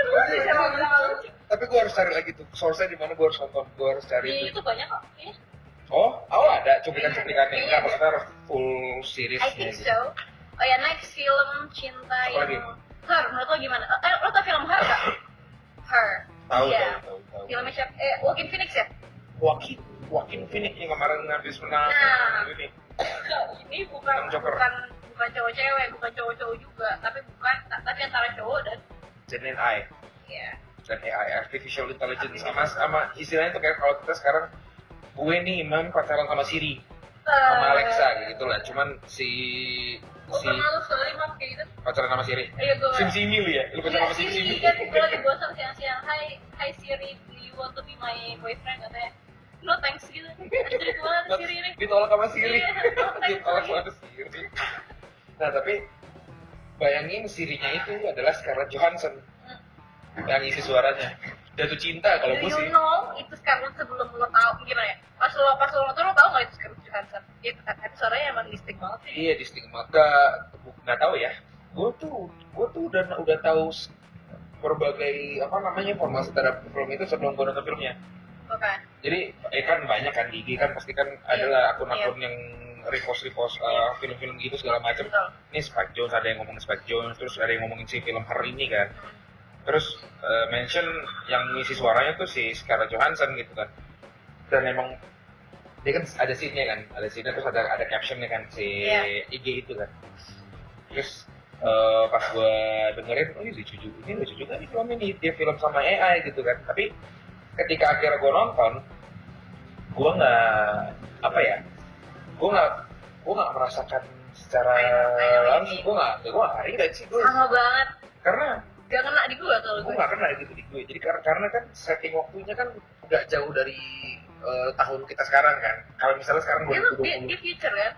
Speaker 2: lucu sama sama lucu.
Speaker 1: Tapi gue harus cari lagi tuh source-nya di mana gue harus nonton. Gue harus cari
Speaker 2: Di
Speaker 1: itu.
Speaker 2: YouTube banyak kok. Iya.
Speaker 1: Oh, oh ada cuplikan-cuplikannya.
Speaker 2: Iya.
Speaker 1: Enggak maksudnya harus full
Speaker 2: I
Speaker 1: series-nya.
Speaker 2: think
Speaker 1: gitu.
Speaker 2: so. Oh ya, next film cinta
Speaker 1: Apa
Speaker 2: yang...
Speaker 1: lagi?
Speaker 2: Her, menurut lo gimana? Eh, lo tau film Her nggak? Her.
Speaker 1: Tahu
Speaker 2: Iya.
Speaker 1: tahu tahu tahu.
Speaker 2: Filmnya siapa? Eh, Joaquin Phoenix ya?
Speaker 1: Joaquin Joaquin Phoenix yang kemarin habis menang
Speaker 2: Nah.
Speaker 1: ini.
Speaker 2: ini bukan
Speaker 1: Tentang Joker.
Speaker 2: bukan bukan cowok cewek bukan cowok cowok juga tapi bukan tapi antara cowok dan
Speaker 1: Jenin Ai.
Speaker 2: ya
Speaker 1: dan AI artificial intelligence sama sama istilahnya itu kayak kalau kita sekarang gue nih Imam pacaran sama Siri
Speaker 2: Ah.
Speaker 1: sama Alexa kayak gitulah cuman si
Speaker 2: gue
Speaker 1: si
Speaker 2: Eh, pernah lu sekali mam kayak gitu
Speaker 1: pacaran sama Siri
Speaker 2: iya gue
Speaker 1: Sim Simi lu ya lu pacaran
Speaker 2: Iya,
Speaker 1: sama Sim Simi
Speaker 2: Siri, kan gue lagi bosan siang-siang Hai, hai Siri, do you want to be my boyfriend? Katanya No thanks
Speaker 1: [laughs]
Speaker 2: gitu Jadi banget Siri ini
Speaker 1: ditolak sama Siri
Speaker 2: Iya,
Speaker 1: ditolak sama Siri nah tapi bayangin Sirinya itu adalah Scarlett Johansson yang isi suaranya jatuh cinta kalau
Speaker 2: Do
Speaker 1: gue sih
Speaker 2: you know itu sekarang sebelum lo tau gimana ya? Pas lo pas lo nonton lo tau gak itu sekarang Johansson? Iya, tapi suaranya emang distinct banget sih.
Speaker 1: Iya di stigma nggak nggak tahu ya. Gue tuh gue tuh udah udah tahu s- berbagai apa namanya informasi terhadap film itu sebelum gue nonton filmnya.
Speaker 2: Bukan.
Speaker 1: Jadi eh kan banyak kan di IG kan pasti kan adalah akun-akun yang repost repost uh, film-film gitu segala macam.
Speaker 2: Betul.
Speaker 1: Ini Spike Jones ada yang ngomongin Spike Jones terus ada yang ngomongin si film hari ini kan. Terus eh, mention yang ngisi suaranya tuh si Scarlett Johansson gitu kan. Dan emang dia kan ada scene-nya kan, ada scene terus ada ada captionnya kan si
Speaker 2: Iya.
Speaker 1: IG itu kan. Terus eh, pas gua dengerin, oh ini lucu juga, ini lucu juga nih film ini, dia film sama AI gitu kan. Tapi ketika akhirnya gua nonton, gua nggak apa ya, gua nggak gua nggak merasakan secara
Speaker 2: I know, I know what you
Speaker 1: langsung,
Speaker 2: mean.
Speaker 1: gua nggak gua nggak relate sih gua,
Speaker 2: Sama banget.
Speaker 1: karena
Speaker 2: Gak kena di gua kalau
Speaker 1: gue
Speaker 2: gue.
Speaker 1: nggak kena gitu di gue jadi karena karena kan setting waktunya kan nggak jauh dari eh, tahun kita sekarang kan kalau misalnya sekarang
Speaker 2: Dia tuh dia, dia
Speaker 1: 2020
Speaker 2: future kan? Ah,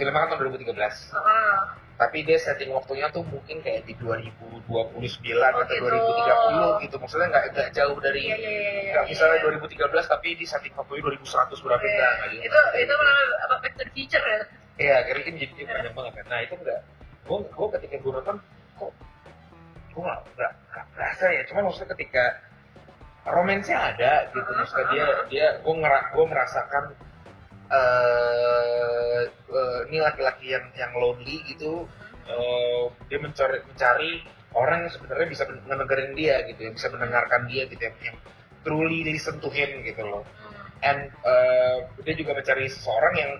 Speaker 1: filmnya kan tahun 2013
Speaker 2: Heeh.
Speaker 1: tapi dia setting waktunya tuh mungkin kayak di 2029
Speaker 2: Oh,
Speaker 1: atau
Speaker 2: gitu.
Speaker 1: 2030 gitu maksudnya nggak nggak jauh dari
Speaker 2: Iya iya iya. iya,
Speaker 1: nggak
Speaker 2: iya.
Speaker 1: misalnya 2013 tapi di setting waktunya 2100 berapa
Speaker 2: Iya.
Speaker 1: enggak nggak gitu.
Speaker 2: Itu itu malah apa back to the future ya?
Speaker 1: Iya, akhirnya kan jadi panjang banget kan. Nah itu enggak, gue gue ketika gue nonton kok gue nggak nggak nggak berasa ya. Cuman maksudnya ketika romansnya ada gitu, maksudnya dia dia gue ngerak gue merasakan eh eh, ini laki-laki yang yang lonely gitu, eh, dia mencari mencari orang yang sebenarnya bisa men- mendengarin dia gitu, yang bisa mendengarkan dia gitu, yang, yang truly listen to him gitu loh and uh, dia juga mencari seseorang yang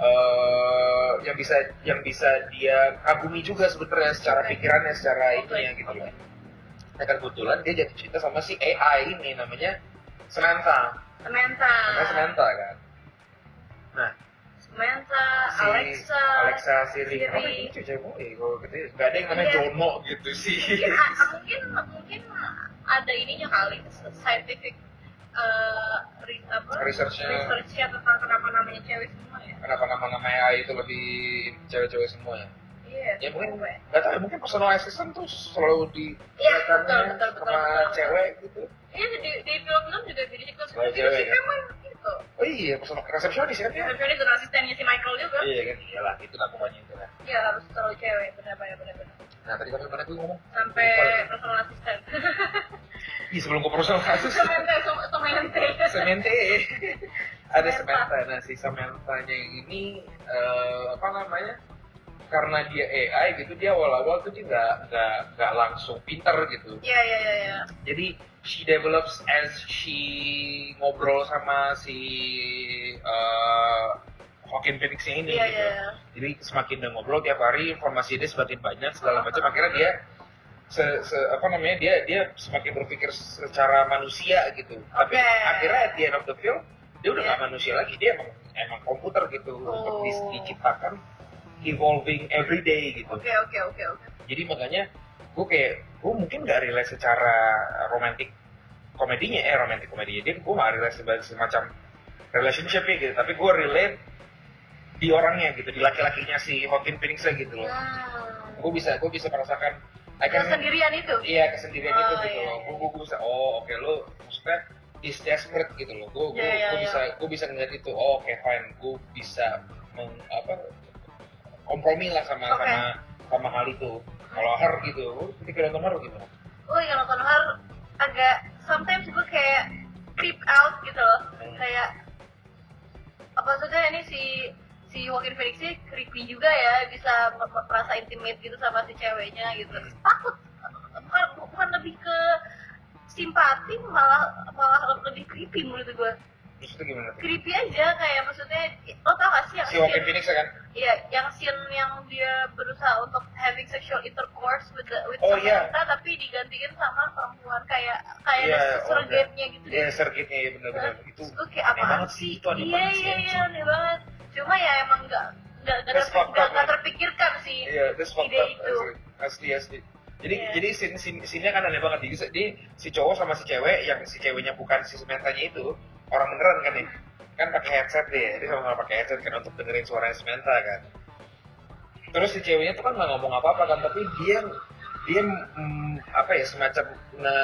Speaker 1: uh, yang bisa yang bisa dia kagumi juga sebenarnya secara pikirannya secara
Speaker 2: Oke.
Speaker 1: ininya gitu loh. Nah kan kebetulan dia jatuh cinta sama si AI ini namanya Samantha,
Speaker 2: Samantha.
Speaker 1: namanya Samantha kan. Nah
Speaker 2: Samantha,
Speaker 1: si
Speaker 2: Alexa.
Speaker 1: Alexa Siri,
Speaker 2: Siri.
Speaker 1: apa ini cuci boy, kalau gitu nggak ada yang namanya
Speaker 2: Iya.
Speaker 1: Jono gitu sih. [laughs]
Speaker 2: Mungkin, ah, mungkin mungkin ada ininya kali scientific eh, re- apa,
Speaker 1: Research-nya.
Speaker 2: research-nya tentang kenapa namanya cewek semua ya?
Speaker 1: Kenapa nama-nama AI itu lebih cewek-cewek semua ya?
Speaker 2: Iya,
Speaker 1: Ya mungkin
Speaker 2: cewek.
Speaker 1: nggak tahu, ya, mungkin personal assistant tuh selalu di
Speaker 2: Iya,
Speaker 1: kelihatannya
Speaker 2: betul, betul, betul,
Speaker 1: sama
Speaker 2: betul.
Speaker 1: cewek gitu.
Speaker 2: Iya, di, di film-film juga gitu. Di
Speaker 1: Cewek,
Speaker 2: film-film
Speaker 1: cewek,
Speaker 2: sih
Speaker 1: kan?
Speaker 2: memang gitu.
Speaker 1: Oh iya, personal resepsionis kan ya?
Speaker 2: Tapi itu asistennya si Michael juga.
Speaker 1: Iya kan, iyalah itu lah pokoknya itu lah.
Speaker 2: Iya, harus selalu cewek, benar-benar. benar-benar.
Speaker 1: Nah tadi sampai mana gue ngomong?
Speaker 2: Sampai
Speaker 1: Lupa ya.
Speaker 2: personal asisten.
Speaker 1: Ih sebelum gue personal
Speaker 2: [laughs]
Speaker 1: assistant.
Speaker 2: Semente, sem- semente.
Speaker 1: Semente. Ada
Speaker 2: Sementa.
Speaker 1: Sementa. Nah, si Sementanya ini eh, apa namanya? Karena dia AI gitu, dia awal-awal tuh dia nggak nggak nggak langsung pinter gitu.
Speaker 2: Iya, iya, iya, iya.
Speaker 1: Jadi she develops as she ngobrol sama si eh Joaquin Phoenix ini gitu.
Speaker 2: Iya, iya, iya.
Speaker 1: Jadi semakin dia ngobrol tiap hari informasi dia semakin banyak segala macam akhirnya dia se, se- apa namanya dia dia semakin berpikir secara manusia gitu. Tapi
Speaker 2: Oke.
Speaker 1: akhirnya at the end of the film dia udah nggak
Speaker 2: Iya.
Speaker 1: manusia lagi dia emang emang komputer gitu untuk
Speaker 2: Oh.
Speaker 1: di- diciptakan evolving every day gitu.
Speaker 2: Oke, oke, oke, oke.
Speaker 1: Jadi makanya gue kayak gue mungkin nggak relate secara romantic komedinya eh romantic komedinya dia gue nggak relate sebagai semacam relationship ya gitu tapi gue relate di orangnya gitu di laki-lakinya si Joaquin Phoenix gitu loh
Speaker 2: Hmm.
Speaker 1: gue bisa gue bisa merasakan I can-
Speaker 2: Kesendirian itu.
Speaker 1: iya kesendirian itu
Speaker 2: Oh,
Speaker 1: gitu
Speaker 2: iya,
Speaker 1: loh
Speaker 2: iya.
Speaker 1: gue gue bisa oh oke lo maksudnya is desperate gitu loh gue gue
Speaker 2: Iya, iya, iya.
Speaker 1: bisa gue bisa ngeliat itu oh oke fine gue bisa meng, apa kompromi lah sama
Speaker 2: Oke.
Speaker 1: sama sama hal itu kalau her gitu lu ketika nonton her gimana
Speaker 2: Gue kalau nonton horror agak sometimes gue kayak creep out gitu loh.
Speaker 1: Hmm.
Speaker 2: Kayak apa maksudnya ini si si Joaquin Phoenix sih creepy juga ya bisa me- me- merasa intimate gitu sama si ceweknya gitu takut bukan, bukan lebih ke simpati malah malah lebih creepy menurut gue
Speaker 1: terus itu gimana tuh?
Speaker 2: creepy aja kayak maksudnya lo tau gak sih yang
Speaker 1: si Joaquin
Speaker 2: scene-
Speaker 1: Phoenix ya kan
Speaker 2: Iya, Iya, yang scene yang dia berusaha untuk having sexual intercourse with the, with
Speaker 1: Oh,
Speaker 2: sama
Speaker 1: iya.
Speaker 2: kita, tapi digantiin sama perempuan kayak kayak
Speaker 1: Iya,
Speaker 2: yeah,
Speaker 1: oke.
Speaker 2: surrogate-nya gitu deh.
Speaker 1: ya sergitnya ya benar-benar
Speaker 2: Terus
Speaker 1: itu
Speaker 2: gue kayak
Speaker 1: aneh
Speaker 2: apaan
Speaker 1: banget sih, itu aneh
Speaker 2: iya,
Speaker 1: banget sih,
Speaker 2: Iya, iya,
Speaker 1: anjing.
Speaker 2: aneh banget. Cuma ya emang nggak nggak nggak
Speaker 1: That's
Speaker 2: terpik-
Speaker 1: fucked
Speaker 2: nggak
Speaker 1: up,
Speaker 2: nggak
Speaker 1: man.
Speaker 2: terpikirkan sih.
Speaker 1: Iya, terus fucked
Speaker 2: Ide
Speaker 1: up
Speaker 2: itu.
Speaker 1: asli. asli asli. Jadi
Speaker 2: Iya.
Speaker 1: jadi scene, scene, scene-nya kan aneh banget. Jadi, jadi si cowok sama si cewek yang si ceweknya bukan si sementanya itu orang beneran kan
Speaker 2: Hmm.
Speaker 1: ya? Kan pakai headset deh. Jadi sama-sama pakai headset kan untuk dengerin suaranya sementa kan. Terus si ceweknya tuh kan nggak ngomong apa-apa kan, tapi dia dia mm, apa ya semacam nge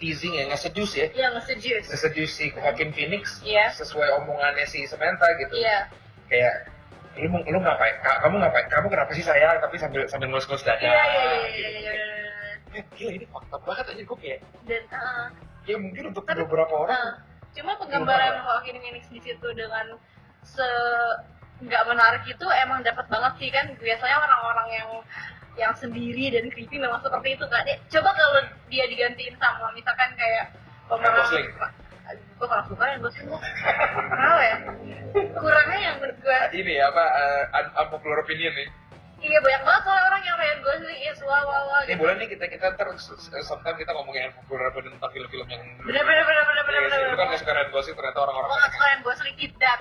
Speaker 1: teasing ya, nge seduce ya.
Speaker 2: Yang seduce.
Speaker 1: Nge seduce si Joaquin Phoenix
Speaker 2: Iya.
Speaker 1: sesuai omongannya si sementa gitu
Speaker 2: Iya.
Speaker 1: kayak lu mau- lu ngapain Ka- kamu ngapain kamu kenapa sih sayang tapi sambil sambil ngulus-ngulus dada
Speaker 2: Iya, iya, iya, iya,
Speaker 1: Ah, gitu.
Speaker 2: iya, iya.
Speaker 1: Eh, gila ini fakta banget aja gue kayak
Speaker 2: Dan ah,
Speaker 1: ya mungkin untuk
Speaker 2: Tapi-
Speaker 1: beberapa orang
Speaker 2: Nah, cuma penggambaran Joaquin Phoenix di situ dengan se nggak menarik itu emang dapat banget sih kan biasanya orang-orang yang yang sendiri dan creepy memang seperti itu kan Ya, coba kalau dia digantiin sama misalkan kayak
Speaker 1: Ryan
Speaker 2: pemeran
Speaker 1: Gosling.
Speaker 2: gue kalau suka yang gue suka kenapa ya kurangnya yang menurut gue
Speaker 1: ini ya apa eh, un- unpopular opinion nih
Speaker 2: iya banyak banget soalnya orang yang Ryan Gosling is wow wow wow
Speaker 1: ini
Speaker 2: gitu.
Speaker 1: boleh nih kita kita ter sometime kita ngomongin unpopular opinion tentang film-film yang
Speaker 2: bener bener bener bener bener
Speaker 1: Iya
Speaker 2: bener
Speaker 1: sih, lu kan
Speaker 2: bener
Speaker 1: gak suka Ryan Gosling ternyata orang-orang
Speaker 2: Gua nggak suka Ryan Gosling eat that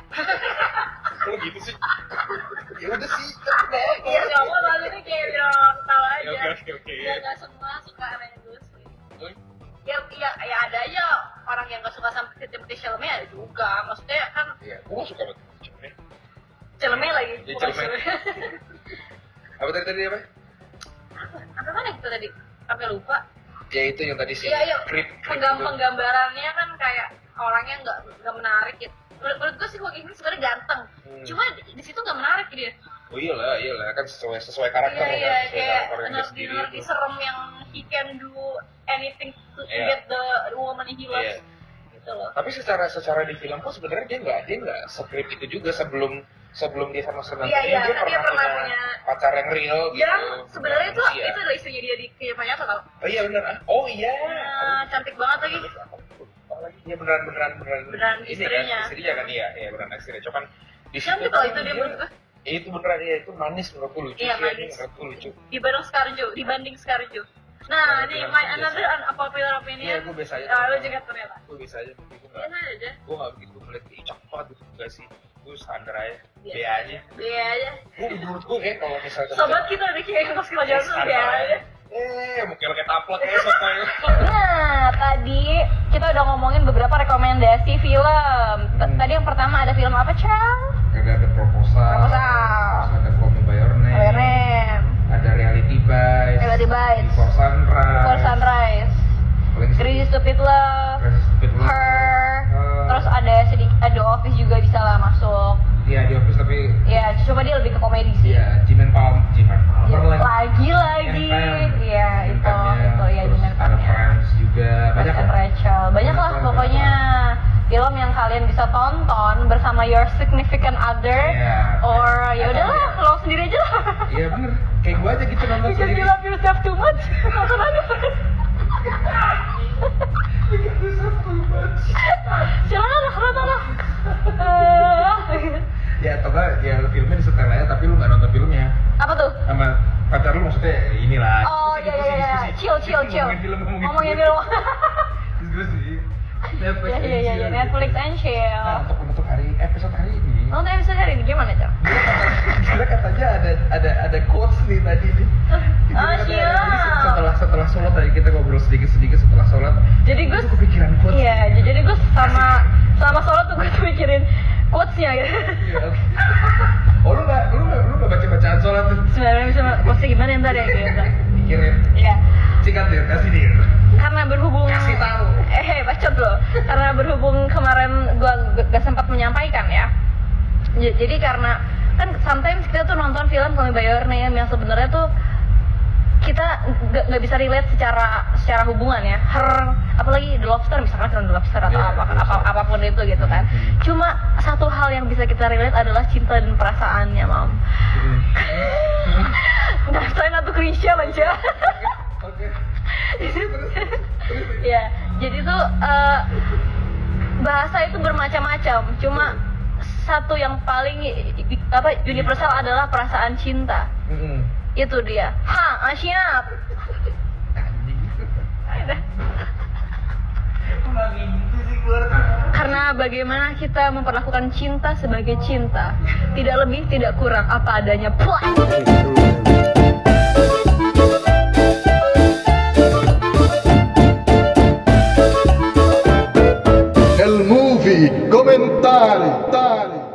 Speaker 1: Kok gitu sih? ya udah sih, tapi kenapa?
Speaker 2: iya nggak mau maksudnya kayak biar orang tahu
Speaker 1: Ya,
Speaker 2: aja
Speaker 1: Oke, oke, oke.
Speaker 2: ya nggak semua suka Ryan Gosling
Speaker 1: Oi,
Speaker 2: ya, ya, ya ada aja orang yang nggak suka sama Timothy Chalamet ada juga maksudnya kan
Speaker 1: Iya, gue gak suka banget. Cuma,
Speaker 2: Chalamet lagi
Speaker 1: Iya,
Speaker 2: bukan
Speaker 1: Chalamet.
Speaker 2: Chalamet.
Speaker 1: Apa tadi tadi apa?
Speaker 2: [laughs] apa mana gitu tadi sampai lupa
Speaker 1: Ya itu yang tadi sih.
Speaker 2: iya iya
Speaker 1: Creep, creep
Speaker 2: penggam
Speaker 1: itu.
Speaker 2: penggambarannya kan kayak orangnya nggak nggak menarik gitu menurut, menurut gue sih Joaquin Phoenix sebenarnya ganteng
Speaker 1: Hmm.
Speaker 2: cuma di, di situ nggak menarik dia
Speaker 1: Oh iyalah, iyalah kan sesuai sesuai karakter
Speaker 2: iya
Speaker 1: kan,
Speaker 2: iya
Speaker 1: sesuai
Speaker 2: kayak
Speaker 1: karakter yang dia
Speaker 2: energi
Speaker 1: sendiri
Speaker 2: energi
Speaker 1: itu.
Speaker 2: serem yang he can do anything to
Speaker 1: Iya.
Speaker 2: get the woman he
Speaker 1: Iya.
Speaker 2: loves gitu loh
Speaker 1: Tapi secara secara di film pun sebenarnya dia nggak dia nggak sekrip itu juga sebelum sebelum dia sama senang
Speaker 2: Iya, iya,
Speaker 1: dia
Speaker 2: kan dia
Speaker 1: pernah
Speaker 2: pernah
Speaker 1: punya
Speaker 2: punya-
Speaker 1: pacar yang real gitu.
Speaker 2: yang sebenarnya itu
Speaker 1: Iya.
Speaker 2: itu adalah istrinya dia di kehidupan nyata tau
Speaker 1: Oh iya benar. ah. Oh iya.
Speaker 2: Nah, cantik banget lagi
Speaker 1: Iya beneran beneran beneran.
Speaker 2: Beneran istrinya.
Speaker 1: Kan, istrinya kan iya, iya beneran istrinya. Cuman di
Speaker 2: cantik
Speaker 1: kan
Speaker 2: kalau itu dia menurut gue
Speaker 1: Iya, itu beneran iya itu manis menurutku lucu.
Speaker 2: Iya,
Speaker 1: sih,
Speaker 2: manis.
Speaker 1: Menurutku lucu.
Speaker 2: dibanding Scarjo dibanding Scarjo
Speaker 1: Nah,
Speaker 2: nah ini
Speaker 1: beneran
Speaker 2: my
Speaker 1: biasa.
Speaker 2: another unpopular
Speaker 1: Iya,
Speaker 2: opinion
Speaker 1: gue biasa aja.
Speaker 2: nah, lo juga ternyata Iya, nah.
Speaker 1: Gue biasa aja, tapi gue nggak
Speaker 2: biasa aja
Speaker 1: gue gak begitu melihat ih cakep banget gitu enggak sih gue standar aja
Speaker 2: Biasa.
Speaker 1: biasa aja
Speaker 2: biasa Iya aja
Speaker 1: gue menurut gue kayak kalau misalnya
Speaker 2: sobat kita nih kayak pas kita
Speaker 1: Eh,
Speaker 2: jalan tuh
Speaker 1: standar
Speaker 2: biasa
Speaker 1: aja
Speaker 2: aja
Speaker 1: ya eh mungkin kayak taplak ya pokoknya
Speaker 2: Nah, tadi kita udah ngomongin beberapa rekomendasi film. T-
Speaker 1: Hmm.
Speaker 2: Tadi yang pertama ada film apa, Chang?
Speaker 1: ada ada proposal
Speaker 2: Proposal.
Speaker 1: terus ada call me by your name
Speaker 2: Rem.
Speaker 1: ada reality bites
Speaker 2: Reality Bites.
Speaker 1: Before sunrise
Speaker 2: Before Sunrise.
Speaker 1: Paling
Speaker 2: Crazy Stupid Love.
Speaker 1: Crazy Stupid Love.
Speaker 2: Her.
Speaker 1: Her.
Speaker 2: Terus ada sedikit ada Office juga bisa lah masuk.
Speaker 1: Iya di office tapi
Speaker 2: Ya, coba dia lebih ke komedi sih.
Speaker 1: ya Jimin Palm Jimin Palm
Speaker 2: lagi lagi iya itu itu ya
Speaker 1: dengan
Speaker 2: dengan
Speaker 1: ada Friends juga banyak
Speaker 2: Ada
Speaker 1: kan?
Speaker 2: Rachel banyak lah
Speaker 1: Banyak lah,
Speaker 2: pokoknya film yang kalian bisa tonton bersama your significant other
Speaker 1: Iya.
Speaker 2: or ya udahlah lo sendiri aja lah
Speaker 1: [laughs] Iya bener, kayak gue aja gitu nonton
Speaker 2: because
Speaker 1: sendiri.
Speaker 2: you love yourself too much nonton aja silakan lah nonton lah Eh,
Speaker 1: Ya atau enggak, ya filmnya disetel aja tapi lu nggak nonton filmnya
Speaker 2: apa tuh
Speaker 1: sama pacar lu maksudnya ya inilah.
Speaker 2: oh
Speaker 1: Diskusi,
Speaker 2: iya iya iya
Speaker 1: diskusi.
Speaker 2: chill chill chill
Speaker 1: Ngomongin film, ngomongin
Speaker 2: ngomongin
Speaker 1: film.
Speaker 2: film
Speaker 1: Diskusi. Netflix
Speaker 2: [laughs]
Speaker 1: and
Speaker 2: Iya iya iya
Speaker 1: chill.
Speaker 2: Netflix Oh, and chill.
Speaker 1: Nah, untuk penutup hari episode hari ini,
Speaker 2: Lo tadi bisa dari gimana cak?
Speaker 1: Gila katanya ada ada ada quotes nih tadi nih. Jadi
Speaker 2: Oh,
Speaker 1: katanya-
Speaker 2: siap.
Speaker 1: jadi setelah setelah sholat tadi kita ngobrol sedikit sedikit setelah sholat.
Speaker 2: Jadi gue
Speaker 1: Itu kepikiran quotes.
Speaker 2: Iya j- jadi gue sama sama solo tuh gue mikirin quotesnya [laughs] gitu.
Speaker 1: Iya, oke. [laughs] Oh lu nggak lu nggak lu nggak baca bacaan sholat tuh?
Speaker 2: Sebenarnya bisa quotesnya gimana yang tadi ya gitu.
Speaker 1: Pikirin.
Speaker 2: Iya
Speaker 1: Sikat dir, kasih dir.
Speaker 2: karena berhubung
Speaker 1: Kasih tahu.
Speaker 2: eh bacot lo karena berhubung kemarin gue gak sempat menyampaikan ya. J- Jadi karena kan sometimes kita tuh nonton film Call Me By Your Name yang sebenarnya tuh kita nggak nggak bisa relate secara secara hubungan ya her apalagi the lobster misalkan film the lobster atau
Speaker 1: Iya,
Speaker 2: apa,
Speaker 1: The Lobster.
Speaker 2: apa- apapun itu gitu kan
Speaker 1: Mhm.
Speaker 2: cuma satu hal yang bisa kita relate adalah cinta dan perasaannya mam [laughs] nah saya tuh Krisya aja
Speaker 1: Mm-hmm.
Speaker 2: [laughs]
Speaker 1: Oke.
Speaker 2: ya jadi tuh eh, bahasa itu bermacam-macam cuma
Speaker 1: Iya.
Speaker 2: satu yang paling i- i- apa universal adalah perasaan cinta
Speaker 1: Mm-mm.
Speaker 2: itu dia ha ah, siap
Speaker 1: Anjing. Kok lagi gitu sih keluar tuh?
Speaker 2: Karena bagaimana kita memperlakukan cinta sebagai cinta Tidak lebih, tidak kurang, apa adanya Puas!
Speaker 5: El movie, commentari, tali.